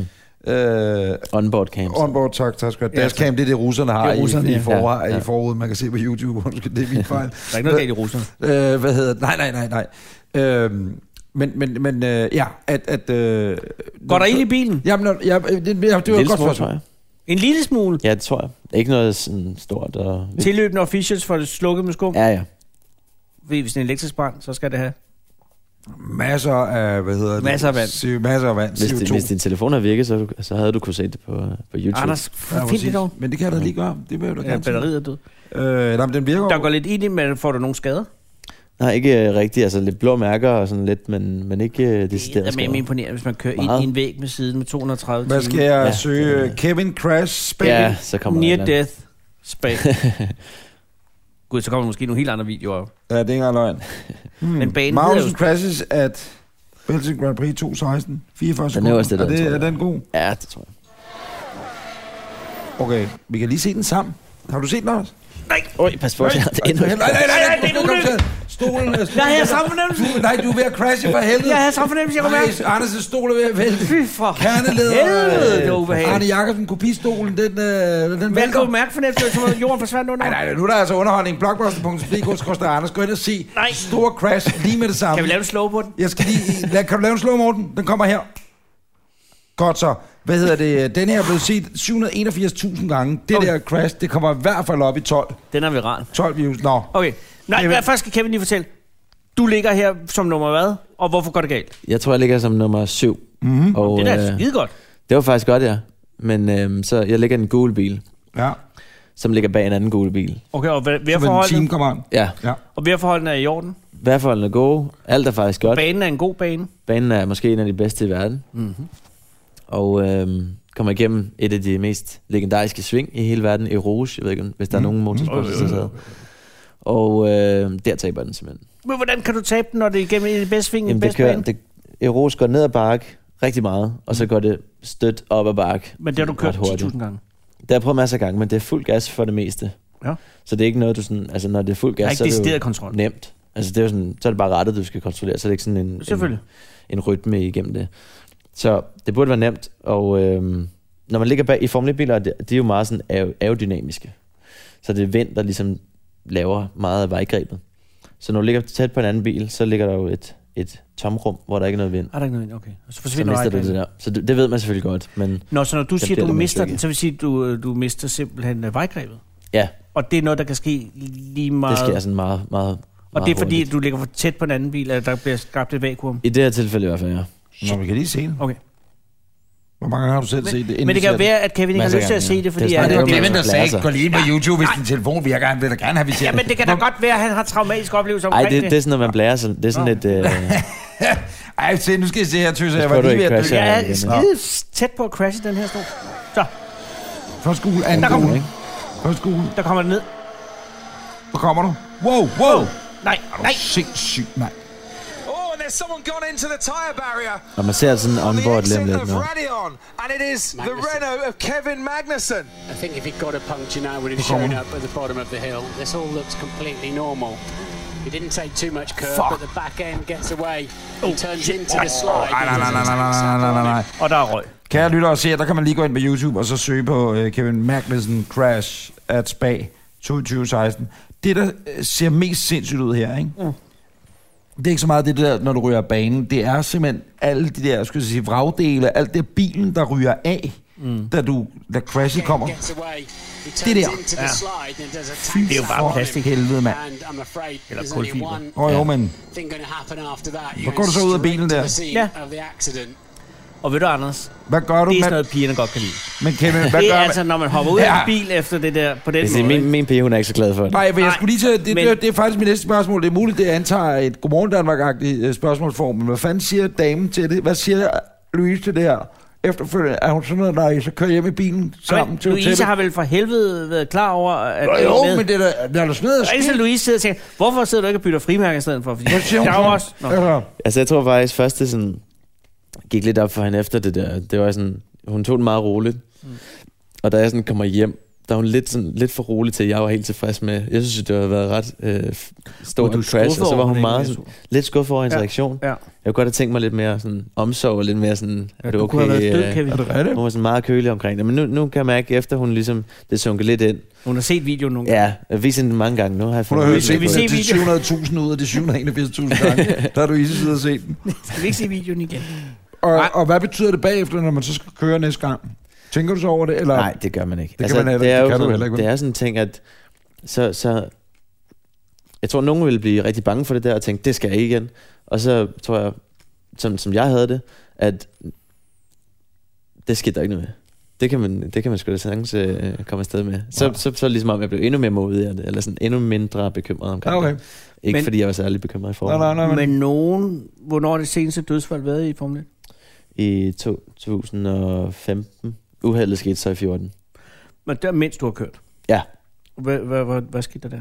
D: Mm.
B: Øh,
D: Onboard camps.
B: onboard tak, tak skal du have.
C: Ja,
B: Dashcam, det er det, russerne har
C: Det er russerne,
B: i, i,
C: ja.
B: forvejen,
D: Ja,
B: ja,
D: ja.
B: i forud. Man kan se på YouTube, undskyld, det er min fejl.
C: Der er ikke noget galt i russerne.
B: øh, hvad hedder det? Nej, nej, nej, nej. Øh, men, men, men øh, ja, at... at øh,
C: Går der ild i bilen?
B: Jamen, når, ja, øh, det, det, det var et
D: Lille
B: godt
D: smule,
B: spørgsmål.
D: tror jeg.
C: En lille smule.
D: Ja, det tror jeg. Ikke noget sådan stort. Og...
C: Tilløbende officials for det slukket med skum. Ja.
D: Ja, ja.
C: Hvis det er en elektrisk brand, så skal det have.
B: Masser af, hvad hedder det?
C: Masser af vand.
B: Si- masser af vand.
D: Hvis,
B: CO2.
D: det, hvis din telefon havde virket, så, havde du- så havde du kunne se det på, på YouTube.
C: Anders,
B: Ja,
C: find det
B: præcis.
C: dog.
B: Men det kan jeg da lige gøre. Det vil jeg da
C: Ja,
B: gerne.
C: batteriet er død.
B: Øh, nej, men den virker
C: Der
B: jo.
C: går lidt ind i, men får du nogle skader?
D: Nej, ikke øh, rigtigt. Altså lidt blå mærker og sådan lidt, men, men ikke øh,
C: Det
D: decideret
C: er med
D: skader.
C: imponerende, hvis man kører ind
D: Meget.
C: i en væg med siden med 230
B: Hvad skal jeg ja,
D: Ja,
B: søge?
D: det er-
B: Kevin Crash Spade?
D: Ja, så kommer der et
C: Near
D: eller andet.
C: death spag. Gud, så kommer der måske nogle helt andre videoer op.
B: ja, det er ikke engang løgn. Hmm.
C: Men banen
B: Magnussen
C: hedder
B: crashes at Belgien Grand Prix 2016. 44 sekunder.
D: øverste der,
B: er, det,
D: tror
B: er
D: jeg.
B: den god?
D: Ja, det tror jeg.
B: Okay, vi kan lige se den sammen. Har du set den også?
D: Oj, pas på, jeg har det endnu
B: nej,
D: ikke.
B: nej, nej, nej,
C: det er en
B: kom, kom,
C: ulykke.
B: kom, Stolen er...
C: Jeg havde samme fornemmelse.
B: Du- Nej, du er ved at crashe for helvede.
C: Jeg havde samme fornemmelse, jeg kunne mærke.
B: Nej, Anders' stol er ved at vælte.
C: Fy for
B: Kerneleder.
C: helvede, det var ubehageligt.
B: Arne Jacobsen, kopistolen, den, øh, den
C: Hvad kan du
B: vælter.
C: mærke fornemmelsen, som om jorden forsvandt under?
B: Nej, nej, nu er der altså underholdning. Blockbuster.dk, Anders, gå ind og se
C: Nej.
B: store crash lige med det samme.
C: Kan vi lave en slow på den?
B: Jeg skal lige... Lad, kan du lave en slow, Morten? Den kommer her. Godt så. Hvad hedder det? Den her er blevet set 781.000 gange. Det
C: Okay.
B: der crash, det kommer i hvert fald op i 12.
C: Den er viral.
B: 12 views. Nå.
C: Okay. Nej,
B: Jamen.
C: hvad, først skal Kevin lige fortælle. Du ligger her som nummer hvad? Og hvorfor går det galt?
D: Jeg tror, jeg ligger som nummer syv.
B: Mhm.
D: Mm-hmm. Og,
C: Det er da
D: øh,
C: skide godt.
D: det var faktisk godt, ja. Men øhm, så jeg ligger i en gul bil,
B: Ja.
D: som ligger bag en anden gul bil.
C: Okay, og hver-
B: Så vil en time
C: vejrforholdene,
B: kommer an.
D: Ja,
B: Ja.
C: og vejrforholdene er i orden.
D: vejrforholdene er gode. Alt er faktisk godt.
C: Banen er en god bane.
D: Banen er måske en af de bedste i verden. Mm-hmm.
C: Mhm.
D: Og øhm, kommer igennem et af de mest legendariske sving i hele verden, i Rouge. Jeg ved ikke, om- hvis der
C: Mhm.
D: er nogen motorsport, der sidder. Og øh, der taber den simpelthen.
C: Men hvordan kan du tabe den, når det er igennem en af de bedste sving i den
D: Jamen, det
C: bedste
D: kører,
C: bane? Mhm.
D: det, Eros går ned ad bakke rigtig meget, og så går det stødt op ad bakke.
C: Men det har du kørt 10.000 gange.
D: Det har jeg prøvet masser af gange, men det er fuld gas for det meste.
C: Ja.
D: Så det er ikke noget, du sådan... Altså, når det er fuld
C: Der er
D: gas, så
C: ikke
D: er det
C: decideret
D: jo
C: kontrol.
D: nemt. Altså, det er jo sådan, så er det bare rettet, du skal kontrollere, så er det ikke sådan en, en,
C: Selvfølgelig.
D: en rytme igennem det. Så det burde være nemt, og øhm, når man ligger bag i Formel 1-biler, de, de er jo meget sådan aer- aerodynamiske. Så det er vind, der ligesom laver meget af vejgrebet. Så når du ligger tæt på en anden bil, så ligger der jo et, et tomrum, hvor der ikke er noget vind.
C: Er Ah, der ikke noget? Okay. Og så
D: Så
C: forsvinder
D: mister du det
C: vejbanen.
D: der. Så det, det ved man selvfølgelig godt, men
C: Nå, så når du siger,
D: bliver
C: du
D: der
C: mister
D: måske
C: den,
D: ikke.
C: så vil sige, du, øh, du mister simpelthen øh, vejgrebet.
D: ja,
C: Og det er noget, der kan ske lige meget.
D: det sker sådan meget, meget,
C: og
D: meget
C: det er fordi,
D: hurtigt.
C: at du ligger for tæt på en anden bil, at der bliver skabt et vakuum.
D: I det her tilfælde i hvert fald, ja.
B: Nå, vi kan lige se den.
C: Okay.
B: Hvor mange gange har du selv set det? inden
C: Men det
B: vi
C: kan
B: ser
C: jo være, at Kevin ikke har
D: Masser
C: lyst til
D: gange,
C: at se
D: ja.
C: det, fordi...
D: Det er
C: at-
D: snart,
B: det var
D: det er
B: Kevin, der
D: Blaser.
B: sagde, gå lige ind på YouTube, hvis din telefon virker. Han vil da gerne have, vi ser
C: Ja, men det kan da godt være, at han har traumatiske oplevelser
D: Ej,
C: omkring
D: det, det er sådan, når man blærer sig. Det er sådan lidt... Øh,
B: Ej, se, nu skal I se her, tøser. Jeg
D: tror,
B: var
D: du
B: lige ved
D: ikke
B: at
D: crasher.
B: dykke.
C: Jeg er
D: igen.
C: skide tæt på at crashe den her stol. Så,
B: Første gul, anden
C: Der kommer
B: gul.
D: ikke?
B: Første gul.
C: der kommer den ned.
B: Hvor kommer du? Wow, wow.
C: Nej, nej.
B: Sindssygt, mand.
F: Oh, and there's someone gone into the tyre barrier.
D: når man ser sådan en
F: on the
D: onboard lige om
F: exit
D: lidt
F: of
D: nu.
F: Radeon, and it is the
G: Magnussen.
F: Renault of Kevin Magnussen.
G: I think if he got a puncture now, would have shown up at the bottom of the hill. This all looks completely normal. He didn't take too much curve, but the back end gets away. He turns into the slide.
B: Nej, nej, nej, nej, nej, nej, nej, nej, nej.
C: Og der er røg.
B: Kære lyttere og seere, der kan man lige gå ind på YouTube og så søge på øh, Kevin Magnussen Crash at Spa 2016. Det, der øh, ser mest sindssygt ud her, ikke? Mm. Det er ikke så meget det der, når du ryger af banen. Det er simpelthen alle de der, skulle jeg sige, vragdele, alt det bilen, der ryger af, mm. da, du, da crashet kommer.
G: Gets away. He turns
B: Det der.
G: into the
C: Ja.
G: slide and does a
C: det er jo
G: tank
C: bare
G: slide on
C: plastik.
G: him.
B: Helvede, mand.
G: And I'm afraid
C: Eller
G: there's only
C: kulfiber.
G: one uh,
B: Åh oh, jo, men
G: thing going to happen after that.
B: Hvor går du så ud af bilen der?
C: Ja.
G: Ja. Of the accident.
C: Og ved du, Anders,
B: hvad gør du
C: det er
B: med...
C: sådan noget, pigerne godt kan lide.
B: Men Kevin, hvad
C: det
B: gør
C: er
B: man?
C: altså, når man hopper ud
B: Ja.
C: af en bil efter det der, på den
D: Hvis det er
C: måde.
D: min, min pige, hun er ikke så glad for det.
B: Nej, men jeg
C: Nej,
B: skulle lige til... Det,
C: men-
B: men... det, det er faktisk mit næste spørgsmål. Det er muligt, det antager et Godmorgen Danmark-agtigt øh, spørgsmålsform, men hvad fanden siger damen til det? Hvad siger Louise til det her? Efterfølgende er hun sådan noget, når I så kører hjem i bilen sammen
C: Men
B: til
C: Louise
B: hotellet?
C: har vel for helvede været klar over, at
B: Nå,
C: det er med.
B: Jo, men det er da, der er da sådan noget, der
C: Og indtil
B: sker.
C: Louise sidder og tænker, hvorfor sidder du ikke og bytter frimærker i stedet for? Fordi
B: Hvad siger hun
C: der er jo
B: så?
C: også... Nå.
B: Altså,
D: Altså, jeg tror faktisk først, det sådan, gik lidt op for hende efter det der. Det var sådan, hun tog det meget roligt. Mm. Og da jeg sådan kommer hjem, der er hun lidt, sådan, lidt for rolig til, at jeg var helt tilfreds med. Jeg synes, det havde været ret øh, f- stor
C: Men du er
D: en crash,
C: skuffet
D: og
C: over,
D: så var
C: hun
D: hun
C: ikke
D: meget
C: blev
D: sådan, lidt skuffet over hendes
C: Ja.
D: ja. reaktion.
C: Ja.
D: Jeg kunne godt have tænkt mig lidt mere sådan, omsorg, og lidt mere sådan, er det
C: Du
D: okay?
C: kunne have været død,
D: øh,
C: Kevin.
B: er det rigtigt?
D: hun var sådan meget kølig omkring det, men nu, nu kan jeg mærke, efter hun ligesom, det sunket lidt ind.
C: Hun har set videoen nogle gange.
D: Ja, jeg viser den mange gange nu. Har jeg
B: Hun har
D: fundet
B: hørt
D: ud af
B: set
C: vi
D: det.
C: se
B: de
C: videoen?
B: 700.000 ud af de 781.000 gange. Der er du i sidder og set den.
C: Skal vi ikke se videoen igen?
B: Og,
C: Nej.
B: og hvad betyder det bagefter, når man så skal køre næste gang? Tænker du så over det? Eller?
D: Nej, det gør man ikke. Altså,
B: kan man heller
D: det
B: ikke.
D: er
B: Det kan
D: jo
B: du
D: sådan,
B: heller ikke, vel?
D: Det er sådan en ting, at så, så, jeg tror, nogen vil blive rigtig bange for det der og tænke, det skal jeg ikke igen. Og så tror jeg, som, som jeg havde det, at det skete der ikke noget med. Det kan man, det kan man sgu da sagtens øh, komme afsted med. Så, ja. så, så, så ligesom om jeg blev endnu mere modig af det, eller sådan endnu mindre bekymret omkring
B: Okay.
D: det. Ikke
C: Men-
D: men, fordi jeg var særlig bekymret i
B: Nej,
D: forhold.
B: nej, nej. Men,
C: Men nogen... Hvornår er det seneste dødsfald været i Formel 1?
D: I 2015. Uheldet skete så i 14.
C: Men der mens du har kørt.
D: Ja.
C: Hvad, hvad, hvad, hvad skete der der?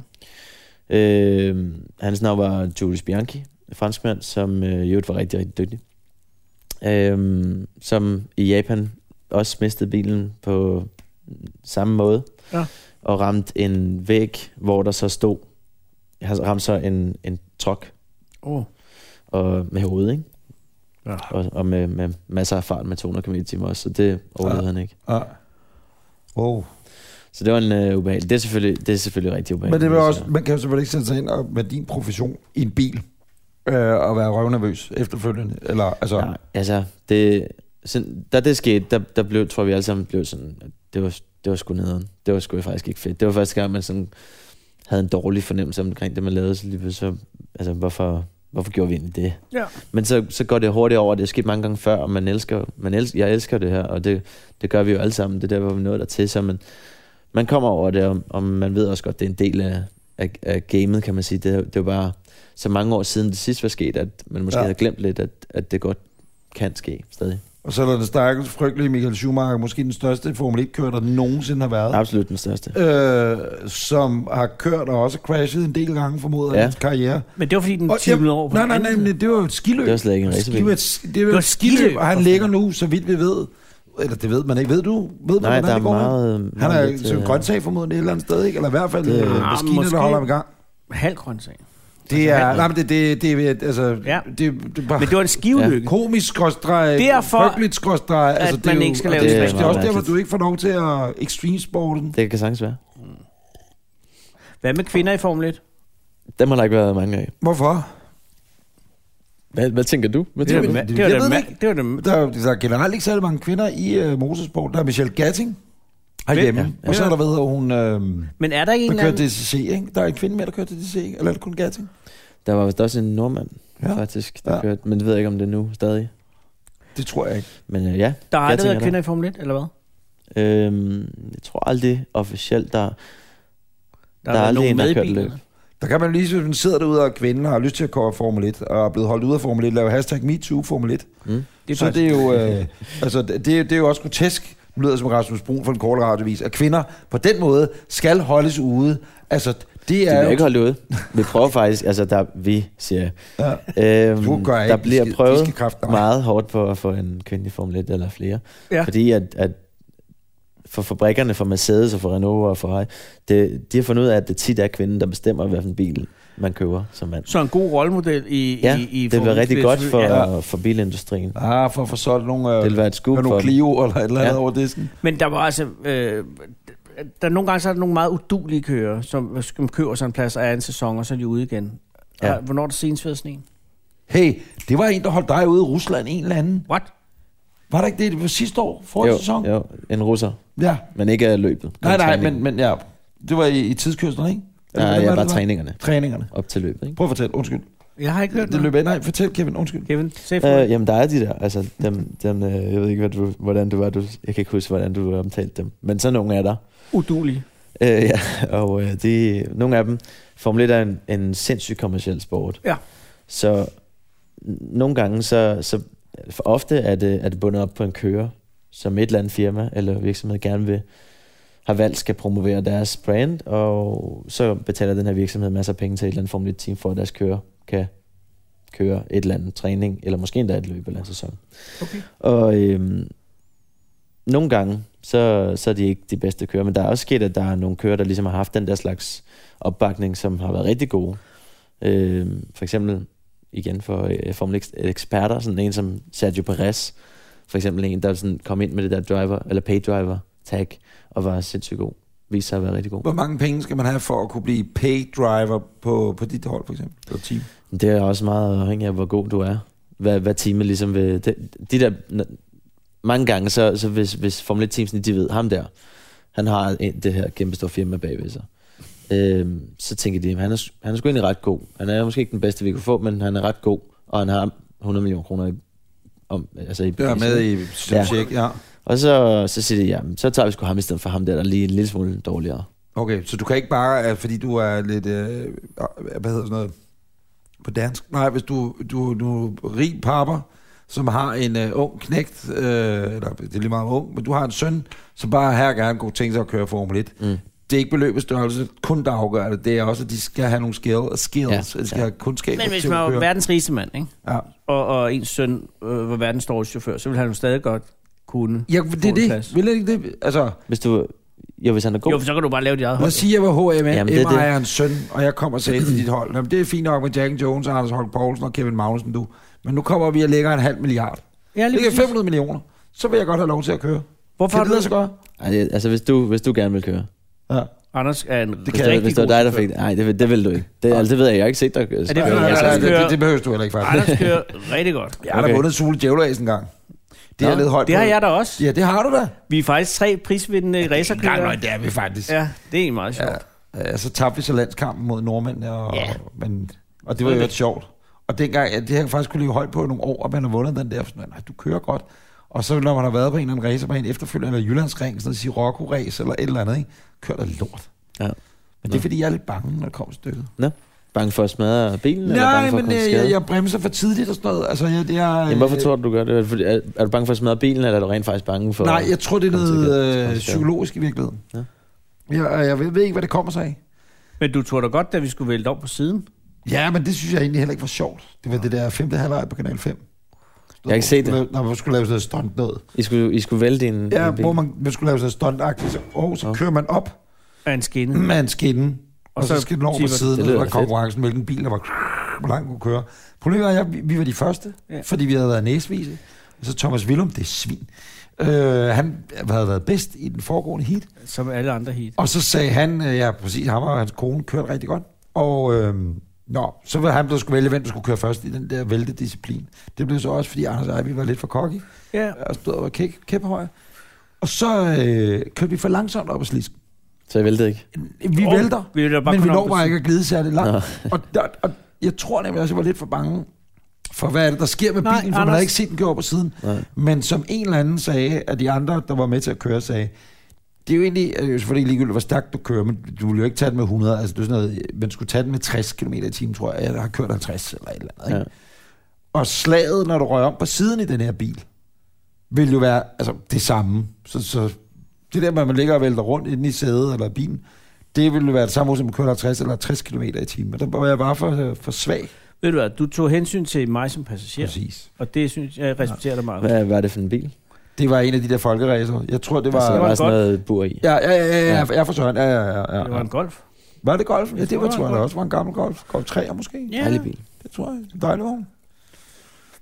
D: Øh, hans navn var Julius Bianchi, en franskmand, som øh, i øvrigt var rigtig, rigtig dygtig. Øh, som i Japan også mistede bilen på samme måde.
C: Ja.
D: Og ramte en væg, hvor der så stod, han ramte så en, en truck
C: Åh. Oh.
D: og, med hovedet, ikke?
C: Ja.
D: Og, og med, med, masser af fart med 200 km i timen også, så det overlevede ja. han ikke.
B: ja. Wow.
D: Så det var en øh, ubehagelig. Det er selvfølgelig, det er selvfølgelig rigtig ubehageligt.
B: Men
D: altså.
B: det vil
D: så-
B: også, man kan jo selvfølgelig ikke sætte sig ind og, med din profession i en bil øh, og være røvnervøs efterfølgende. Eller, altså,
D: Nej, altså, det, sådan, da det skete, der, der blev, tror vi alle sammen blev sådan, at det var, det var sgu nederen. Det var sgu faktisk ikke fedt. Det var første gang, man sådan havde en dårlig fornemmelse omkring det, man lavede, så lige pludselig, så, altså, hvorfor, hvorfor gjorde vi egentlig det?
C: Ja.
D: Men så, så går det hurtigt over, og det er sket mange gange før, og man elsker, man elsker, jeg elsker det her, og det, det gør vi jo alle sammen. Det er der, hvor vi nåede dertil, så man, man kommer over det, og, og man ved også godt, det er en del af, af, af gamet, kan man sige. Det, er- det var bare så mange år siden det sidste var sket, at man måske
B: Ja.
D: ja. havde glemt lidt, at, at det godt kan ske stadig.
B: og så er der den stakkels frygtelige Michael Schumacher, måske den største Formel 1-kører, der nogensinde har været.
D: Absolut den største.
B: Øh, som har kørt og også crashet en del gange, formoder ja.
D: Ja.
B: hans karriere.
C: Men det var fordi, den
B: Og-
C: timede over på
B: nej,
C: den
B: nej,
C: anden
B: nej,
C: side.
B: men det var jo et skiløb.
D: Det var slet ikke en racerbil.
B: Det var et, sk- det var
C: var
B: et skiløb,
C: skiløb.
B: og han ligger nu, så vidt vi ved. Eller det ved man ikke. Ved du, ved man,
D: Nej,
B: hvordan
D: der er
B: det går?
D: meget...
B: han
D: meget
B: er
D: lidt,
B: jo
D: øh,
B: grøntsag formodentlig et eller andet sted, ikke? Eller i hvert fald
D: Det-
B: øh,
D: Ah,
B: maskiner,
C: måske.
B: der holder ham i gang.
C: Halv grøntsag.
B: Det er, nej, men det, det, det, altså,
C: Ja.
B: ja. det, det er bare
C: Men det var en skivelykke. Ja.
B: komisk skråstreg,
C: Derfor,
B: frygteligt skråstreg. Altså,
C: at man ikke skal lave
B: det,
D: det.
B: er jo- og det, det er også
D: Det er
B: derfor,
D: mærkeligt.
B: du ikke får lov til at extreme-sporten.
D: Det kan sagtens være.
C: Hvad med kvinder i Formel 1?
D: Dem har der ikke været mange af.
B: Hvorfor?
D: Hvad, hvad tænker du? Hvad tænker
B: er-
D: du?
B: det-
C: det var
B: jeg
C: dem,
B: ved det
C: ma-
B: ikke.
C: det var dem,
B: Der, er jo- der er generelt ikke særlig mange kvinder i uh, motorsport. Der er Michelle Gatting herhjemme.
D: Ja,
B: Og så er der ved, at hun øh,
C: Men er der ikke en
B: der
C: eller
B: kører
C: anden...
B: DCC, ikke? Der er en kvinde mere, der kører til DCC, ikke? Eller er det kun Gatting?
D: Der var vist også en nordmand,
B: Ja.
D: ja. faktisk, der
B: Ja.
D: ja. kørte. Men det ved jeg ikke, om det er nu stadig.
B: Det tror jeg ikke.
D: Men øh, ja,
C: Der har
D: Jeg
C: aldrig været
D: tænker
C: kvinder i Formel 1, eller hvad?
D: Øhm, jeg tror aldrig officielt, der...
C: Der,
D: Der er
C: været
D: aldrig
C: nogen
D: en, der
C: med i
D: har kørt
C: bilen,
D: løb.
C: eller?
B: Der kan man jo lige, hvis man sidder derude og er kvinde og har lyst til at køre Formel 1, og er blevet holdt ude af Formel 1, lave hashtag MeToo Formel 1.
D: Mm.
C: Det er
B: så
C: faktisk...
B: det er jo, øh, altså, det, det er- det er jo også grotesk, nu lyder jeg som Rasmus Brun for en korte radiovis, at kvinder på den måde skal holdes ude. Altså, det er
D: De bliver
B: jo...
D: ikke holdt ude. Vi prøver faktisk, altså der, vi siger,
B: Ja.
D: jeg. øhm,
B: Du gør ikke.
D: der
B: De
D: bliver
B: skal- de
D: prøvet
B: skal kraft- nej.
D: meget hårdt på at få en kvindelig Formel 1 eller flere.
C: Ja.
D: Fordi at, at for fabrikkerne, for Mercedes og for Renault og Ferrari, det, de har fundet ud af, at det tit er kvinden, der bestemmer, hvilken bil man køber som mand.
C: Så en god rollemodel i,
D: Ja,
C: i, i
D: det vil
C: Formel
D: være
C: 1,
D: rigtig
C: det er
D: godt for,
C: selvfølgelig-
D: ja. for bilindustrien.
B: Ah, for at få solgt nogle,
D: Det
B: øh,
D: vil være et scoop for
B: nogle
D: dem.
B: Clio eller et eller andet ja.
D: Ja.
B: over disken.
C: Men der var altså... Øh, der er nogle gange så er der nogle meget udulige kører, som, som køber sig en plads og er en sæson, og så er de ude igen.
D: Ja.
C: Ja. Hvornår er det senest været sådan en?
B: Hey, det var en, der holdt dig ude i Rusland, en eller anden.
C: What?
B: Var det ikke det, det var sidste år, forrige
D: jo,
B: sæson?
D: jo, en russer.
B: Ja.
D: Men ikke af løbet. Kun
B: Nej, nej,
D: træningen.
B: men, men ja, det var i, i tidskørslerne, ikke? Eller
D: Nej,
B: hvordan
D: ja,
B: var det,
D: bare
B: det var?
D: træningerne
B: Træningerne.
D: op til løbet. Ikke?
B: Prøv at fortælle, undskyld.
C: Jeg har ikke hørt
B: Det
C: det.
B: løb af, nej, fortæl Kevin, undskyld.
C: Kevin, se for
D: Øh, jamen, der er de der, altså dem, dem øh, jeg ved ikke, hvad du, hvordan du var, du, jeg kan ikke huske, hvordan du omtalte dem, men sådan nogle er der.
C: Udulig.
D: Øh, ja, og øh, de, nogle af dem, Formel 1 er en, en sindssygt kommersiel sport.
C: Ja.
D: Så n- nogle gange, så, så for ofte er det, er det bundet op på en kører, som et eller andet firma eller virksomhed gerne vil, har valgt skal promovere deres brand, og så betaler den her virksomhed masser af penge til et eller andet Formel 1-team, for at deres kører kan køre et eller andet træning, eller måske endda et løb eller en sæson.
C: Okay.
D: Og øhm, nogle gange, så, så er de ikke de bedste kører, men der er også sket, at der er nogle kører, der ligesom har haft den der slags opbakning, som har været rigtig gode. Øhm, for eksempel, igen for øh, Formel X- eksperter, sådan en som Sergio Perez, for eksempel en, der sådan kom ind med det der driver, eller pay driver tag, og var sindssygt god. Viste sig at være rigtig god.
B: Hvor mange penge skal man have for at kunne blive pay driver på, på dit hold, for eksempel? På team?
D: Det er også meget afhængig af, hvor god du er. Hvad, hvad teamet ligesom vil... De, de der, mange gange, så, så hvis, hvis Formel 1 teamsene, de ved, ham der, han har en, det her kæmpe store firma bagved sig. Øhm, så tænker de, "Jamen, han er, s- han er sgu egentlig ret god. Han er måske ikke den bedste, vi kunne få, men han er ret god, og han har 100 millioner kroner i, om, altså i
B: Det er med i
D: Ja.
B: check, ja.
D: Og så, så siger de, jamen, så tager vi sgu ham i stedet for ham der, der er lige en lille smule dårligere.
B: Okay, så du kan ikke bare, øh, fordi du er lidt, øh, hvad hedder sådan noget, på dansk? Nej, hvis du, du, du er rig papper, som har en øh, ung knægt, øh, eller det er lige meget ung, men du har en søn, som bare her gerne kunne tænke sig at køre Formel 1. Mm. Det er ikke beløbets størrelse, kun der afgør det. Det er også, at de skal have nogle skill, skills, ja,
D: Ja,
B: de skal
D: ja.
B: have kundskaber
C: Men hvis
B: til
C: man
B: at
C: var
B: køre.
C: verdens rigeste mand, ikke?
B: Ja.
C: Og, og ens søn øh, var verdens dårligste chauffør, så ville han jo stadig godt kunne.
B: Ja, det
C: få
B: er
C: en
B: det.
C: plads.
B: Vil det ikke det? Altså,
D: Hvis du... Jo, hvis han er god.
C: Jo, for så kan du bare lave dit eget
B: Lad
C: hold.
B: os sige, at jeg var H&M,
D: Jamen,
B: Jamen,
D: det er
B: Emma
D: det.
B: er en søn, og jeg kommer til til dit hold. Jamen, det er fint nok med Jack Jones, og Anders Holk Poulsen og Kevin Magnussen, du. Men nu kommer vi og lægger en halv milliard.
C: Ja, lige
B: Det er
C: præcis.
B: 500 millioner. Så vil jeg godt have lov til at køre. kan
C: Hvorfor har
B: det lade
C: du...
B: sig godt?
D: Ej, det- altså, hvis du, hvis du gerne vil køre.
B: Ja.
C: Anders er en det
D: Hvis, det, hvis det var dig, der fik det. Nej, det, vil- det vil du ikke. Det, altså, det ved jeg, jeg har ikke set dig. Er
C: det
B: Ja,
C: fordi,
B: ja,
C: Anders
B: ja, det,
C: kører-
B: det, det behøver du heller ikke, faktisk.
C: Anders kører rigtig godt.
B: Jeg har da
D: Okay.
B: vundet Sule Djævleræs en gang. Det er
D: Nå,
B: lidt højt
C: Det
B: på.
C: har jeg da også.
B: Ja, det har du da.
C: Vi er faktisk tre prisvindende ja, racerkører.
B: Nej, nej, det er vi faktisk.
C: Ja, det er egentlig meget sjovt.
B: Ja. Ja, Øh, så tabte vi så landskampen mod nordmændene, og,
C: Ja.
B: men, og det var jo lidt sjovt. Og dengang, ja, det har jeg faktisk kunne ligge højt på i nogle år, at man har vundet den der, sådan, nej, du kører godt. Og så når man har været på en eller anden racerbane efterfølgende, eller Jyllandsring, sådan noget Sirocco Race, eller et eller andet, ikke? kører der lort.
D: Ja.
B: Men det er fordi, jeg er lidt bange, når det kommer stykket.
D: Nå, bange for at smadre bilen? eller
B: Nej,
D: bange for at
B: men
D: komme
B: jeg,
D: til skade?
B: jeg, jeg, bremser for tidligt og sådan noget. Altså, jeg, jeg,
D: Jamen, hvorfor tror du, du gør det? Er, det fordi- er, er du bange for at smadre bilen, eller er du rent faktisk bange for...
B: Nej, jeg tror, det er
D: Kom til
B: noget
D: skade.
B: øh, psykologisk i virkeligheden. Ja.
D: Ja.
B: Jeg, jeg ved, ved ikke, hvad det kommer sig af.
C: Men du tror da godt, da vi skulle vælte op på siden.
B: Ja, men det synes jeg egentlig heller ikke var sjovt. Det var det der femte halvleg på Kanal 5.
D: Jeg har ikke set det.
B: Når man skulle lave sådan noget stunt noget.
D: I skulle, I skulle vælge din,
B: Ja,
D: din bil?
B: hvor man, man skulle lave sådan noget stunt så, oh, så kører man op
C: Af en skinne.
B: med en skinne, og, så,
C: så
B: skal den over på
C: tipper-
B: siden,
D: Det
B: og
D: lyder
B: så var
D: da
B: konkurrencen, hvilken bil der var, hvor langt kunne køre. Problemet er, at vi, vi var de første, ja.
C: Ja.
B: fordi vi havde været næsvise. Og så Thomas Willum, det er svin. Øh, han havde været bedst i den foregående heat.
C: Som alle andre hit.
B: Og så sagde han, øh, ja præcis, ham og hans kone kørte rigtig godt. Og øh, nå, så var han der skulle vælge, hvem der skulle køre først i den der væltedisciplin. Det blev så også, fordi Anders og jeg, vi var lidt for cocky.
C: Ja.
B: Og stod og var kæk, kæphøje. Og så øh, kørte vi for langsomt op ad slisk.
D: Så jeg væltede ikke?
B: Vi
C: Og
B: vælter,
C: vi vælter bare
B: men vi
C: kun
B: når
C: op ad
B: bare
C: slisk.
B: ikke at glide særlig langt. og, der, og jeg tror nemlig også, jeg var lidt for bange for, hvad er det, der sker med
C: Nej,
B: bilen, for man havde
C: Anders.
B: ikke set den køre op på siden. Nej. Men som en eller anden sagde, at de andre, der var med til at køre, sagde, det er jo egentlig øh, selvfølgelig ligegyldigt, hvor stærkt du kører, men du ville jo ikke tage den med 100, altså det er sådan noget, man skulle tage den med 60 km i timen, tror jeg, jeg har kørt 50 eller et eller andet. Ikke? Og slaget, når du røg om på siden i den her bil, vil jo være altså, det samme. Så, så det der med, at man ligger og vælter rundt inde i sædet eller bilen, det ville jo være det samme, som at køre 50 eller 60 km i timen. Og der var jeg bare for, øh, for svag.
C: Ved du hvad, du tog hensyn til mig som passager.
B: Præcis.
C: Og det synes jeg respekterer dig meget.
D: Hvad var det for en bil?
B: Det var en af de der folkeræser. Jeg tror, det var...
D: Altså, der
C: det var
D: var sådan
C: godt.
D: noget bur i.
B: Ja, ja, ja, ja, ja, ja, for søren. Ja, ja, ja, ja.
C: Det var en golf.
B: Var det golf? Ja,
C: Jeg
B: det
C: tror,
B: var,
C: det
B: tror
C: var
B: jeg da
C: golf.
B: også var en gammel golf. Golf 3 måske?
C: Ja.
D: Dejlig bil.
B: Det tror jeg. En dejlig vogn.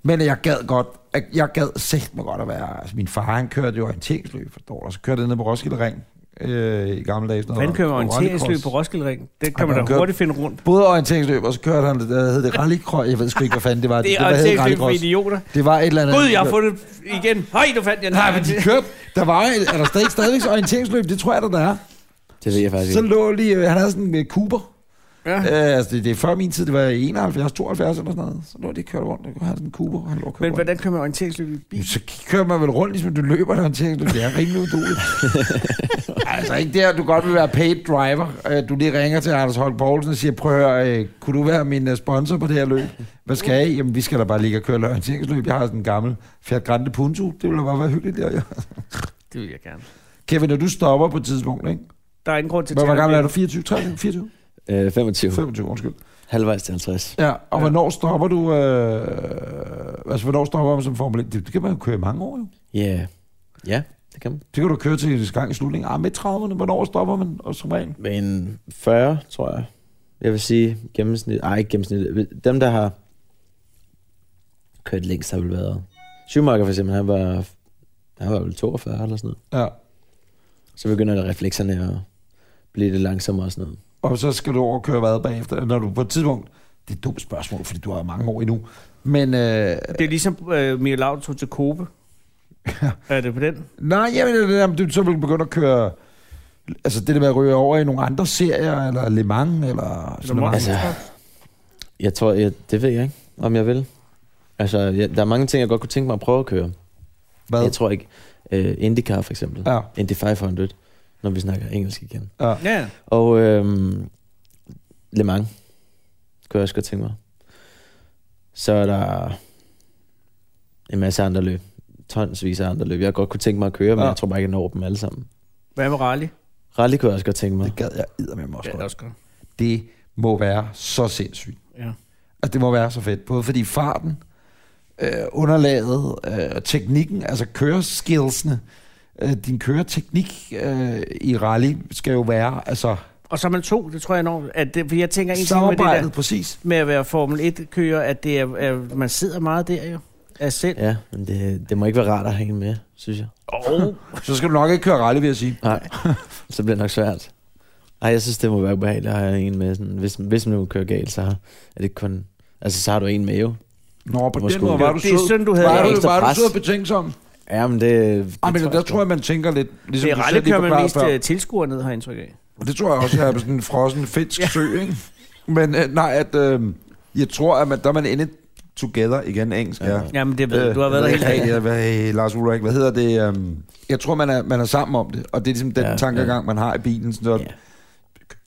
B: Men jeg gad godt, jeg, jeg gad sæt mig godt at være, altså min far han kørte jo orienteringsløb for dårligt, og så kørte jeg ned på Roskilde Ring, øh, i gamle dage. sådan noget
C: Han kører orienteringsløb
B: rallycross.
C: på Roskilde Ring. Det
B: Ej,
C: kan man
B: han
C: da
B: kører-
C: hurtigt finde rundt.
B: Både orienteringsløb, og så kørte han, der hed det rallycross. Jeg ved sgu ikke, hvad fanden det var.
C: Det er
B: var hed
C: orienteringsløb for
B: rallycross.
C: idioter.
B: Det var et eller andet...
C: Gud, jeg har fundet igen. Høj, nu fandt jeg den.
B: Nej, men de kørte... Der var, er der stadig, stadigvæk orienteringsløb? Det tror jeg, der, der er.
D: Det ved jeg faktisk
B: Så
D: ikke.
B: lå lige... øh, Han havde sådan en øh, Cooper.
C: Ja.
B: Øh, altså, det, det, er før min tid, det var i 71, 72 eller sådan noget. Så lå de kørt rundt, og han havde sådan en Cooper, og han lå og kørte
C: Men
B: rundt.
C: hvordan kører man orienteringsløb i bil?
B: Jamen, Så kører man vel rundt, ligesom du løber der orienteringsløb. Det er rimelig uduligt. altså ikke det, at du godt vil være paid driver. Øh, Du lige ringer til Anders Holk Poulsen og siger, prøv at høre, øh, kunne du være min øh, sponsor på det her løb? Hvad skal I? Jamen, vi skal da bare ligge og køre orienteringsløb. Jeg har sådan en gammel Fiat Grande Punto. Det ville da bare være hyggeligt. Der.
C: Det vil jeg gerne.
B: Kevin, når du stopper på et tidspunkt, ikke?
C: Der er ingen grund til at
B: Hvor, hvor
C: tage
B: gammel
C: det.
B: er du? 24? 23? 24?
D: Øh, 25.
B: 25, undskyld.
D: Halvvejs til 50.
B: Ja, og ja. hvornår stopper du... Øh, altså, hvornår stopper man som Formel 1? Det, det kan man jo køre i mange år, jo.
D: Ja. Yeah. Ja, det kan man.
B: Det kan du køre til en gang i slutningen. Ah, med 30'erne, hvornår stopper man og som regel?
D: Men 40, tror jeg. Jeg vil sige gennemsnit. Ej, ikke gennemsnit. Dem, der har kørt længst, har vel været... Schumacher for eksempel, han var, han var vel 42 eller sådan noget.
B: Ja.
D: Så begynder reflekserne at blive lidt langsommere og sådan noget.
B: Og så skal du over og køre hvad bagefter, når du på et tidspunkt... Det er et dumt spørgsmål, fordi du har mange år endnu. Men øh,
C: Det er ligesom øh, Mia Laud tog til Kobe. er det på den?
B: nej, jeg mener, det der, om du så vil begynde at køre... Altså det der med at ryge over i nogle andre serier, eller Le Mans, eller sådan noget.
D: Altså, jeg tror, jeg, det ved jeg ikke, om jeg vil. Altså, jeg, der er mange ting, jeg godt kunne tænke mig at prøve at køre.
B: Hvad?
D: Jeg tror ikke. Uh, IndyCar for eksempel.
B: Ja.
D: Indy 500, når vi snakker engelsk igen.
C: Ja,
D: Og øhm, Le Mans, kunne jeg også godt tænke mig. Så er der en masse andre løb. Tonsvis af andre løb, jeg godt kunne tænke mig at køre, men
B: Ja.
D: jeg tror bare ikke, jeg når dem alle sammen.
C: hvad med rally?
D: Rally kunne jeg også godt tænke mig.
B: Det gad jeg eddermame også
C: Ja,
B: godt.
C: også godt.
B: det må være så sindssygt.
C: Ja.
B: Altså, det må være så fedt. Både fordi farten, øh, underlaget, øh, teknikken, altså køreskillsene, øh, din køreteknik øh, i rally skal jo være, altså
C: Og så er man to, det tror jeg enormt. At det, fordi jeg tænker en ting med det
B: samarbejdet,
C: der,
B: præcis.
C: med at være Formel 1-kører, at det er, er, man sidder meget der jo. Af selv.
D: Ja, men det, det må ikke være rart at hænge med, synes jeg.
B: Så skal du nok ikke køre rally, vil jeg sige.
D: Nej, så bliver det nok svært. Nej, jeg synes, det må være ubehageligt at have en med. Sådan, hvis, hvis man nu kører galt, så er det kun... Altså, så har du en med jo.
B: Nå, på
D: Måske.
B: den måde
D: Det
B: var
D: er-
B: du
C: det er
B: sød.
C: sådan, du havde
B: var,
D: det
B: du,
D: ekstra
B: var du
D: pres.
B: sød og betænksom?
D: Ja, men det... det
B: Ej, men der
D: jeg
B: tror jeg, man tænker lidt, ligesom
C: Det
B: du selv
C: er
B: lige
C: rally kører man
B: forklarede
C: mest
B: før.
C: øh, tilskuer ned, har jeg indtryk af.
B: Og det tror jeg også, jeg er på sådan en frossen finsk ja. sø, ikke? Men øh, nej, at øh, jeg tror, at man, der er man inde together igen, engelsk, ja.
C: Jamen, det ved du. Du har været der hele
B: dagen.
C: dagen.
B: Ja, hvad, Lars Ulrik, hvad hedder det? øhm, jeg tror, man er, man er sammen om det, og det er ligesom den
D: Ja,
B: tankegang, man har i bilen. Sådan noget.
D: Ja.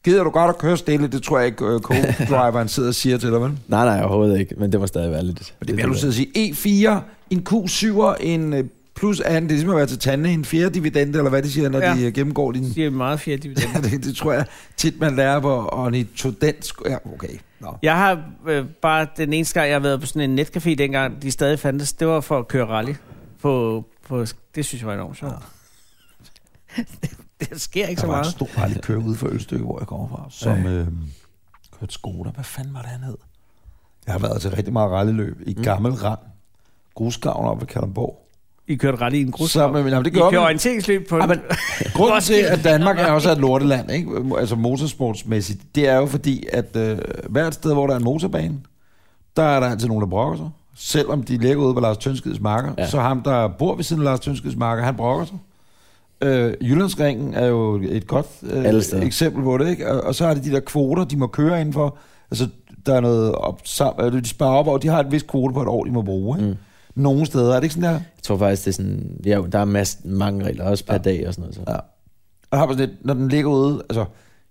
B: Gider du godt at køre stille? Det tror jeg ikke, øh, co-driveren sidder og siger til dig, vel? Men
D: Nej, nej, overhovedet ikke. Men det må stadig være lidt...
B: det bliver du sidde og sige. E4, en Q7, en øh, plus anden, det er ligesom at være til tande, en fjerde dividende, eller hvad de siger, når ja.
C: Ja.
B: de øh, gennemgår din...
C: Det er meget fjerde dividende.
B: Ja, det, det, tror jeg tit, man lærer på ornitodansk. Ja, okay. Nå.
C: Jeg har øh, bare den eneste gang, jeg har været på sådan en netcafé dengang, de stadig fandtes, det var for at køre rally. På, på, det synes jeg var enormt sjovt. det, det sker ikke
B: Der
C: så
B: var en
C: meget.
B: stor rally kører ude for Ølstykke, hvor jeg kommer fra, som øh. kørte Skoda. Hvad fanden var det, han hed? Jeg har været til rigtig meget rallyløb i mm. Gammel Rand. Grusgavn op ved Kalundborg.
C: I kørte rally i en grus.
B: Så, men, jamen, det
C: I kørte
B: gør vi.
C: orienteringsløb på
B: Ja,
C: en...
B: men, grunden til, at Danmark er også et lorteland, ikke? altså motorsportsmæssigt, det er jo fordi, at øh, hvert sted, hvor der er en motorbane, der er der altid nogen, der brokker sig. Selvom de ligger ude på Lars Tønskeds marker, ja.
D: Ja.
B: så ham, der bor ved siden af Lars Tønskeds marker, han brokker sig. Øh, Jyllandsringen er jo et godt
D: Alle
B: øh,
D: steder.
B: eksempel på det, ikke? Og, og så er det de der kvoter, de må køre indenfor. Altså, der er noget op, sam, øh, de sparer op, og de har et vist kvote på et år, de må bruge. Ikke? Mm. Nogle steder er det ikke sådan der.
D: Jeg tror faktisk, det er sådan... Ja, der er masse, mange regler, også per ja. dag og sådan noget. Så. Ja.
B: Og har man sådan lidt, når den ligger ude, altså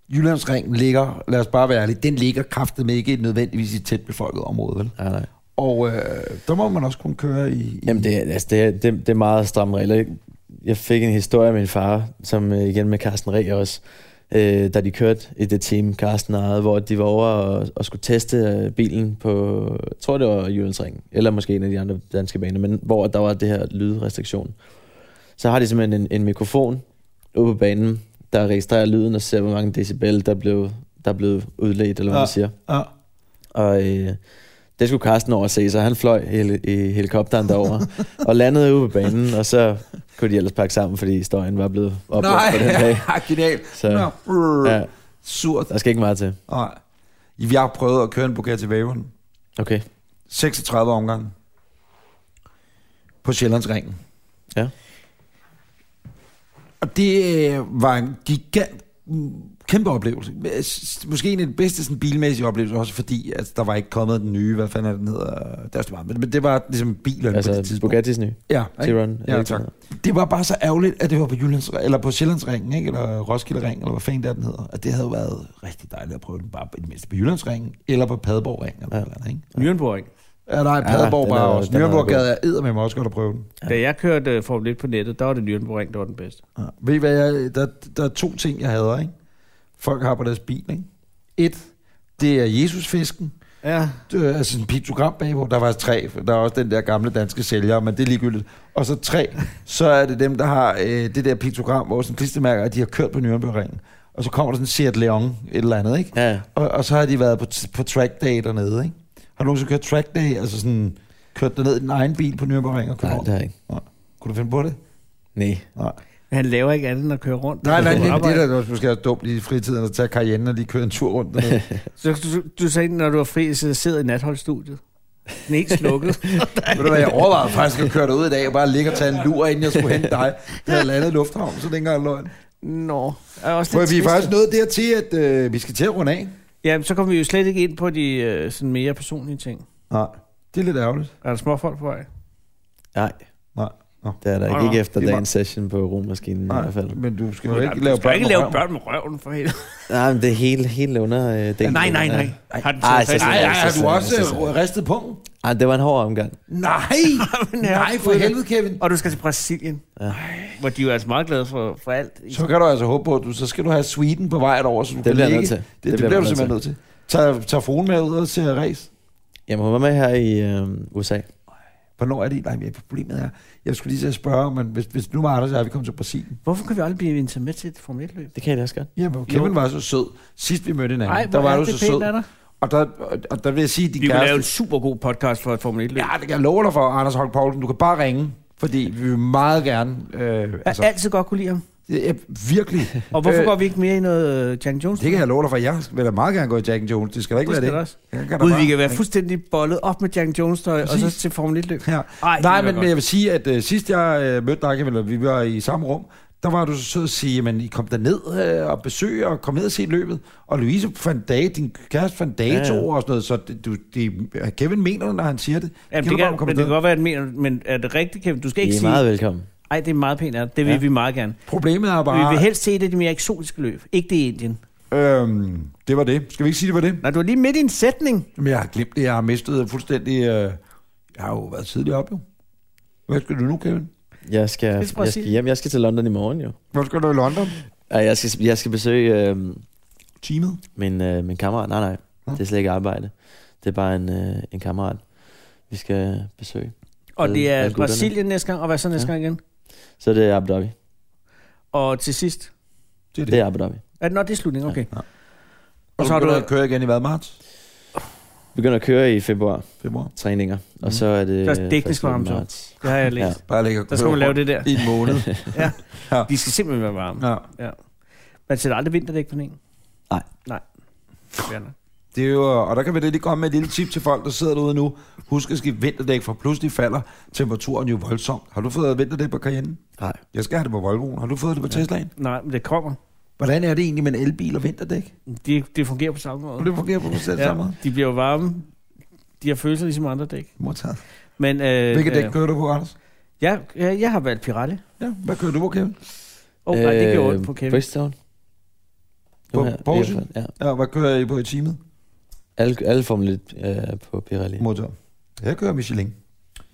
B: Jyllandsringen ligger, lad os bare være ærlige, den ligger kraftet med ikke nødvendigvis i et tæt befolket område, vel?
D: Nej, nej.
B: Og øh, der må man også kunne køre i... i
D: Jamen, det, er- altså, det, er- det, det er meget stramme regler. Jeg- Jeg fik en historie af min far, som øh, igen med Carsten Reh også, øh, da de kørte i det team, Carsten ejede, hvor de var over og, og skulle teste øh, bilen på, jeg tror det var Jyllandsringen, eller måske en af de andre danske baner, men hvor der var det her lydrestriktion. Så har de simpelthen en, en mikrofon ude på banen, der registrerer lyden og ser, hvor
B: Ah.
D: mange decibel, der blev der blev udledt, eller hvad
B: Ja.
D: man siger.
B: ja.
D: Og øh, Det skulle Carsten over at se, så han fløj i, hel- i helikopteren derover og landede ude på banen, og så kunne de ellers pakke sammen, fordi støjen var blevet oplevet
B: Nej,
D: på den dag.
B: genialt.
D: Så-
B: Nå, brrr,
D: Ja, Altså-
B: Surt.
D: der skal ikke meget til.
B: Nej. Vi har prøvet at køre en Bugatti Veyron.
D: Okay.
B: 36 omgange. På Sjællandsringen.
D: Ja.
B: Og det øh, var en gigant, mm, kæmpe oplevelse. Men, s- Måske en af de bedste sådan, bilmæssige oplevelser, også fordi at der var ikke kommet den nye, hvad fanden er den hedder, der var, men men det var ligesom bilerne altså, på det
D: Altså
B: tidspunkt.
D: Bugattis nye.
B: Ja, ikke?
D: T-Run.
B: Ja, tak. Det var bare så ærgerligt, at det var på Jyllands, eller på Sjællandsringen, ikke? eller Roskilde-ringen, eller hvad fanden der den hedder. At det havde jo været rigtig dejligt at prøve den bare i det mindste på Jyllandsringen, eller på Padborg-ringen, eller, ja.
D: Ja.
B: eller andet, ikke?
C: Nürnberg.
B: Ja, nej, Padborg
D: den
B: bare
D: er-
B: også.
D: den er
B: Nürnberg
D: god.
B: gad jeg eddermame også godt at prøve den.
C: Ja. Da jeg kørte øh, Formel 1 på nettet, der var det Nürnberg, der var den bedste.
B: Ja. Ved I hvad, jeg, der, der er to ting, jeg hader, ikke? Folk har på deres bil, ikke? Et, det er Jesusfisken.
C: Ja.
B: Det er altså en piktogram bagpå. Der var tre. Der er også den der gamle danske sælger, men det er ligegyldigt. Og så tre, så er det dem, der har øh, det der piktogram, hvor sådan klistermærker, at de har kørt på Nürnbergringen. Og så kommer der sådan Seat Leon, et eller andet, ikke?
D: Ja, ja.
B: Og, og så har de været på, på track day dernede, ikke? Har du nogensinde kørt track day, altså sådan kørt derned i din egen bil på Nürnbergringen og kørt
D: nej,
B: rundt?
D: det har jeg ikke.
B: Nej. Kunne du finde på det?
D: Nej.
B: Nej.
C: Han laver ikke andet end at køre rundt.
B: Nej, nej,
C: Du
B: det, det
C: arbejder.
B: er da også måske også dumt i fritiden at tage Cayenne og lige køre en tur rundt dernede.
C: Så du, du sagde, når du var fri, så sidder i natholdstudiet. Den er ikke slukket.
B: Ved du hvad, jeg overvejede faktisk at køre derud i dag og bare ligge og tage en lur, inden jeg skulle hente dig. Jeg havde landet i lufthavn, så dengang jeg løgn.
C: Nå. Er også
B: For
C: lidt
B: vi er
C: trist.
B: faktisk nået dertil, at øh, vi skal til at runde af.
C: Jamen, så kommer vi jo slet ikke ind på de øh, sådan mere personlige ting.
B: Nej, det er lidt ærgerligt.
C: Er der småfolk på vej?
D: Nej.
B: Nej. Nå.
D: Det er der ikke.
C: Nå,
D: Ikke efter
B: det er
D: dagens session på rummaskinen i hvert fald.
B: Nej, men du skal jo ikke
C: Du
B: lave
C: skal
B: børn.
C: ikke
B: med
C: lave
B: røven.
C: børn med røven for helvede.
D: Nej, men det er hele, hele under... Øh, delen.
C: Nej, nej, nej. Har den taget
D: Ej, så
C: fast?
D: skal
B: Nej,
D: jeg
B: nej, har du
D: Så-
B: også
D: så-
B: øh, ristet pungen?
D: Ej, det var en hård omgang.
B: Nej, nej, for helvede, Kevin.
C: Og du skal til Brasilien, ja. hvor de er jo altså meget glade for, for alt.
B: Så kan du altså håbe på, at du, så skal du have Sweden på vej derover, så du
D: Det
B: kan
D: bliver jeg nødt
B: ligge.
D: til.
B: Det, det, det bliver du simpelthen nødt til. Tag, tag fruen med ud og se race.
D: Jamen, hun var med her i øh, USA.
B: Hvornår er det? Nej, men problemet er, jeg skulle lige til at spørge, men hvis, hvis nu var Anders og jeg, vi kom til Brasilien.
C: Hvorfor kan vi aldrig blive inviteret med til et Formel 1-løb?
D: Det kan jeg da også godt.
B: Jamen, Kevin var så sød. Sidst vi mødte hinanden,
C: Nej,
B: der var du så sød.
C: Der?
B: Og der, og- og der vil jeg sige, at
C: Vi
B: din
C: kunne lave
B: kæreste...
C: en super god podcast for et Formel 1-løb.
B: Ja, det kan jeg love dig for, Anders Holk Poulsen. Du kan bare ringe, fordi vi vil meget gerne... Øh,
C: Jeg
B: altså,
C: har altid godt kunne lide ham.
B: ja, virkelig.
C: Og hvorfor
B: Øh,
C: øh, går vi ikke mere i noget øh, Jack Jones?
B: Det kan jeg love dig for. Jeg vil da meget gerne gå i Jack and Jones. Det skal da ikke
C: Det skal
B: være
C: der
B: det.
C: også.
B: Jeg kan da
C: Gud,
B: bare
C: vi kan være
B: ringe.
C: fuldstændig bollet op med Jack Jones tøj, og så
B: Præcis.
C: til Formel 1-løb.
B: Ja.
C: Ej, det
B: Nej, men,
C: vil jeg
B: men
C: godt.
B: jeg vil sige, at øh, sidst jeg øh, mødte dig, eller vi var i samme rum, der var du så sød at sige, men I kom derned øh, og besøg og kom ned og se løbet. Og Louise fandt dag, din kæreste fandt dato ja,
D: Ja,
B: ja.
D: ja.
B: og sådan noget, så det, du, det, øh, Kevin mener det, når han siger det.
C: Jamen, det,
B: Kevin,
C: kan,
B: om
C: men
B: kom
C: det
B: derned.
C: kan godt være, at mener, men er det rigtigt, Kevin? Du skal
D: I
C: ikke
D: er
C: sige,
D: meget velkommen.
C: nej, det er meget pænt af dig. Det vil
D: Ja.
C: vi meget gerne.
B: Problemet er
C: Vi
B: bare...
C: vil helst se det i de mere eksotiske løb. Ikke det i Indien.
B: Øhm, det var det. Skal vi ikke sige, det var det?
C: Nej, du er lige midt i en sætning.
B: Men jeg har glemt det. Jeg har mistet fuldstændig... Øh, jeg har jo været tidligere op, jo. Hvad skal du nu, Kevin?
D: Jeg skal,
C: Skal til
D: jeg skal
C: Brasilien?
D: hjem. Jeg skal til London i morgen, jo.
B: Hvor skal du i London?
D: Ej, Jeg skal, jeg skal besøge øh,
B: Teamet.
D: min, øh, min kammerat. Nej, nej. Det er slet ikke arbejde. Det er bare en, øh, en kammerat, vi skal besøge.
C: Og
D: Alle-
C: det er
D: alle gutterne.
C: Brasilien næste gang, og hvad så næste gang igen?
D: Så det er Abu Dhabi.
C: Og til sidst.
B: Det er det.
D: Det er Abu Dhabi.
C: Er det, nå, det er slutningen, okay.
B: Og så har du... at køre igen i hvad, marts?
D: Begynder at køre i februar.
B: Februar.
D: Træninger.
B: Mm.
D: Og så er det...
C: Der er teknisk
D: første
C: varme, så.
D: marts.
C: Det har jeg læst.
D: Ja.
B: Bare ligge og
C: Der skal
B: køre
C: man lave
B: rundt
C: det der.
B: I en måned.
C: De skal simpelthen være varme.
B: ja.
C: Man sætter aldrig vinterdæk på en.
D: Nej.
C: Nej. Fair nok.
B: Det er jo, og der kan vi da lige komme med et lille tip til folk, der sidder derude nu. Husk at skifte vinterdæk, for pludselig falder temperaturen jo voldsomt. Har du fået vinterdæk på Cayenne?
D: Nej.
B: Jeg skal have det på Volvoen. Har du fået det på Teslaen?
C: Nej, men det kommer.
B: Hvordan er det egentlig med en elbil og vinterdæk?
C: Det, det fungerer på samme måde.
B: Og det fungerer på selv ja. samme måde.
C: de bliver jo varme. De har følelser ligesom andre dæk.
B: Modtaget.
C: Men, øh,
B: Hvilket
C: øh,
B: dæk kører du på, Anders?
C: jeg, jeg, jeg har valgt Pirelli.
B: Ja, hvad kører du på, Kevin?
C: Åh, oh, nej,
D: Øh,
C: det gjorde ondt på Kevin.
D: Bridgestone.
B: På-
D: Nu her,
B: på
D: i hvert
B: Aarhus?
D: fald, Ja.
B: Ja, hvad kører I på i teamet?
D: Alle, alle Formel 1 øh, på Pirelli.
B: Motor. Jeg kører Michelin.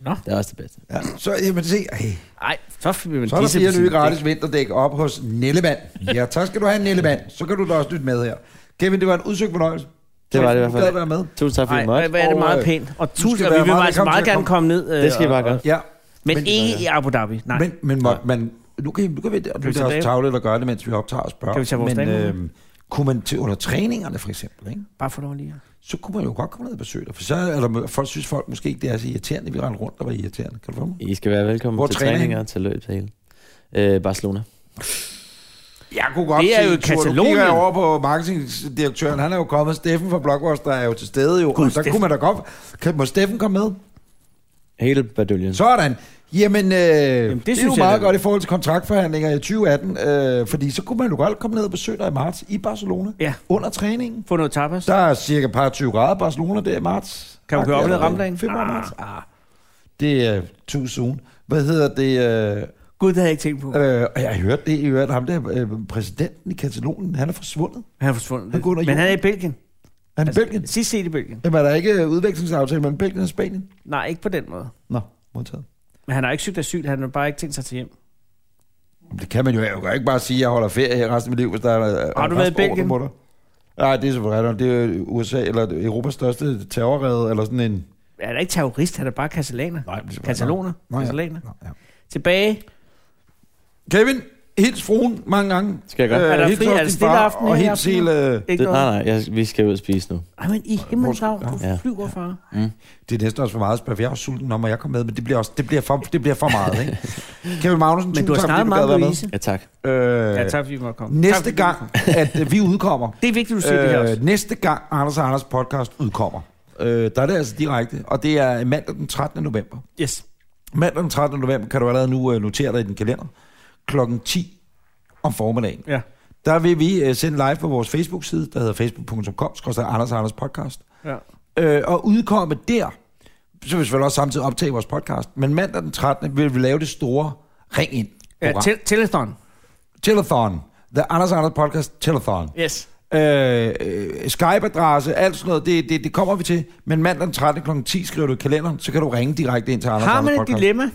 D: Det er også det bedste.
B: Ja, så, jamen, se, ej,
C: Nej, så fik vi
B: så er der fire nye gratis vinterdæk op hos Nellemand. Ja, tak skal du have, Nellemand. Så kan du da også lytte med her. Kevin, det var en udsøgt fornøjelse.
D: Det var det i
B: Tak,
D: hvert
B: du gad
D: fald.
B: være med.
D: Tusind tak, fordi
C: Nej,
D: I måtte.
C: hvor er det
B: Og,
C: meget
B: øh,
C: pænt. Og
B: skal
C: tusind,
B: være
C: vi vil
B: meget
C: altså
B: velkommen
C: meget
B: til at
C: gerne komme ned. øh,
D: Det skal I bare
C: og-
D: gøre.
B: Ja,
C: Men
B: Men-
C: ikke i Abu Dhabi, nej.
B: men, men må, man, nu kan, I- nu kan vi, og det
C: vi
B: er
C: tage
B: også
C: det?
B: tavlet at gøre det, mens vi optager og spørger.
C: Kan vi tage vores
B: men,
C: dame med?
B: øhm, Kunne man til under træningerne for eksempel, ikke?
C: Bare for lov lige her.
B: så kunne man jo godt komme ned og besøge dig. For så er der, folk synes folk måske ikke, det er så irriterende, vi render rundt og var irriterende. Kan du få mig?
D: I skal være velkommen
B: Hvor
D: til
B: træner I
D: træninger, til løb til hele. Øh, Barcelona.
B: Jeg kunne godt
C: Det er
B: se
C: jo
B: en tur. Nu
C: Katalonien.
B: kigger jeg over på marketingdirektøren. Han er jo kommet. Steffen fra Blockbuster er jo til stede jo.
C: Gud,
B: og der
C: Steffen.
B: kunne man da godt... Kan, må Steffen komme med?
D: Hele badøljen.
B: Sådan. Jamen, øh, Jamen det, det er jo
C: synes jeg
B: meget
C: da.
B: godt i forhold til kontraktforhandlinger i 2018. Øh, fordi så kunne man jo godt komme ned og besøge dig i marts i Barcelona.
C: Ja.
B: Under træningen.
C: Få noget tapas.
B: Der er cirka et par 20 grader i Barcelona der i marts.
C: Kan du køre op ned ad Ramdagen?
B: Februar,
C: Ah.
B: marts. Ah. Det er too soon. Hvad hedder det... Øh,
C: Gud, det havde jeg ikke tænkt på.
B: Øh, og jeg hørte det, jeg hørte ham der, øh, præsidenten i Katalonien, han er forsvundet.
C: Han er forsvundet.
B: Han går under
C: Men han er i
B: jorden.
C: Belgien.
B: Er Han altså, Belgien.
C: Sidst set i Belgien.
B: Jamen, er der ikke øh, udvekslingsaftale mellem Belgien og Spanien?
C: Nej, ikke på den måde.
B: Nå, modtaget.
C: Men han har ikke søgt asyl, han har bare ikke tænkt sig til hjem.
B: Jamen, Det kan man jo, jeg kan ikke bare sige, at jeg holder ferie her resten af mit liv, hvis der er...
C: Har du været i Belgien?
B: Nej, det er selvfølgelig Det er jo USA, eller Europas største terrorrede, eller sådan en...
C: Han er ikke terrorist, han er bare katalaner.
B: Nej, det er selvfølgelig-
C: Kataloner.
B: Nå, ja.
C: Katalaner.
B: Nå, ja.
C: Tilbage.
B: Kevin, hils fruen mange gange.
D: Skal jeg gøre?
B: Øh,
C: Er der
B: hils
C: fri-
B: også
C: er det
B: din
C: stille
B: far,
C: aften
B: Og
C: i
B: hils øh,
C: aften?
B: hele...
C: Ikke det,
D: Det, nej,
C: noget.
D: nej, jeg, vi skal ud og spise nu.
C: Ej, men i himmelens navn, du
D: Ja.
C: flyver, far.
B: Det er næsten også for meget at spørge, for jeg er jo sulten, når jeg kommer med, men det bliver, også, det bliver, for, det bliver for meget, ikke? Kevin Magnussen,
C: Men
B: tusind
C: du har
B: tak,
C: snakket
B: fordi
C: meget
B: gad
C: om
B: være med.
C: Louise.
D: Ja, tak.
B: Øh,
C: Ja, tak fordi vi måtte komme. Tak,
B: Næste
C: fordi-
B: gang, Øh, at øh, vi udkommer,
C: Det er vigtigt, du siger det her også.
B: næste gang Anders og Anders podcast udkommer, øh, der er det altså direkte, og det er mandag den 13. november.
C: Yes.
B: Mandag den 13. november kan du allerede nu øh, notere dig i din kalender, klokken 10 om formiddagen.
C: Ja.
B: Der vil vi øh, sende live på vores Facebook-side, der hedder facebook.com, skrøster Anders og Anders podcast.
C: ja.
B: øh, og udkomme der, så vil vi selvfølgelig også samtidig optage vores podcast, men mandag den 13. vil vi lave det store ring ind.
C: ja til, telethon.
B: Telethon. The Anders Anders Podcast Telethon.
C: Yes.
B: Øh, øh, Skype-adresse, alt sådan noget, det, det, det kommer vi til. Men mandag den 13. kl. 10 skriver du i kalenderen, så kan du ringe direkte ind til Anders
C: Har man
B: Anders
C: et
B: Podcast.
C: dilemma?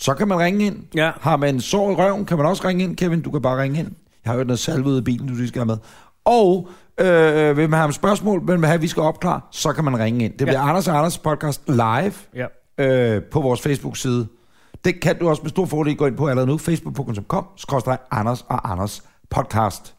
B: Så kan man ringe ind.
C: Ja.
B: Har man sår i røven, kan man også ringe ind. Kevin, du kan bare ringe ind. Jeg har hørt noget salve ud af bilen, du lige skal have med. Og øh, vil man have et spørgsmål, vil man have, at vi skal opklare, så kan man ringe ind. Det bliver Anders og Anders podcast live
C: Ja.
B: øh, på vores Facebook-side. Det kan du også med stor fordel gå ind på allerede nu. Facebook.com, skrådstræk Anders og Anders podcast.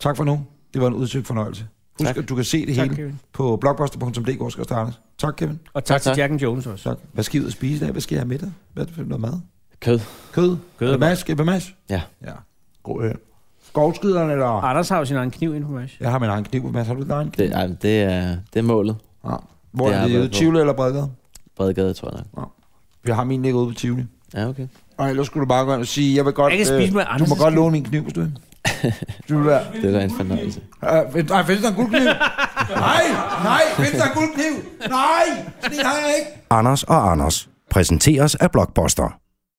B: Tak for nu. Det var en udsøgt fornøjelse. Husk,
D: Tak.
B: at du kan se det
C: Tak,
B: hele
C: Kevin.
B: på blogbuster.dk, skrådstræk Anders. Tak, Kevin.
C: Og tak, tak til
D: tak.
C: Jack and Jones også.
B: Tak. Hvad skal I ud og spise i dag? Hvad skal I have med dig? Hvad er det for noget mad?
D: Kød.
B: Kød?
C: Kød.
B: Er det mask? Er det mask?
D: Ja.
B: Ja. God øl. Skovskideren, eller?
C: Anders har jo sin egen kniv inde på mig.
B: Jeg har min egen kniv, Mads. Har du din egen
D: Det,
B: kniv?
D: ej, det, er, det er målet.
B: Ja. Hvor
D: det
B: er
D: har
B: det? Ude i
D: jeg været på.
B: Tivoli eller Bredgade?
D: Bredgade, tror jeg nok.
B: Vi har min ligger ude på Tivoli.
D: Ja, okay.
B: Og ellers skulle du bare gå ind og sige, jeg vil godt... øh,
C: Jeg kan spise med
B: Du må
C: Anders'
B: godt låne min kniv, hvis du vil. Du vil være...
D: Det er da en fornøjelse.
B: Øh, nej, findes der en guldkniv? nej, nej, findes der en guldkniv? Nej, sådan en har jeg ikke.
A: Anders og Anders præsenteres af Blockbuster.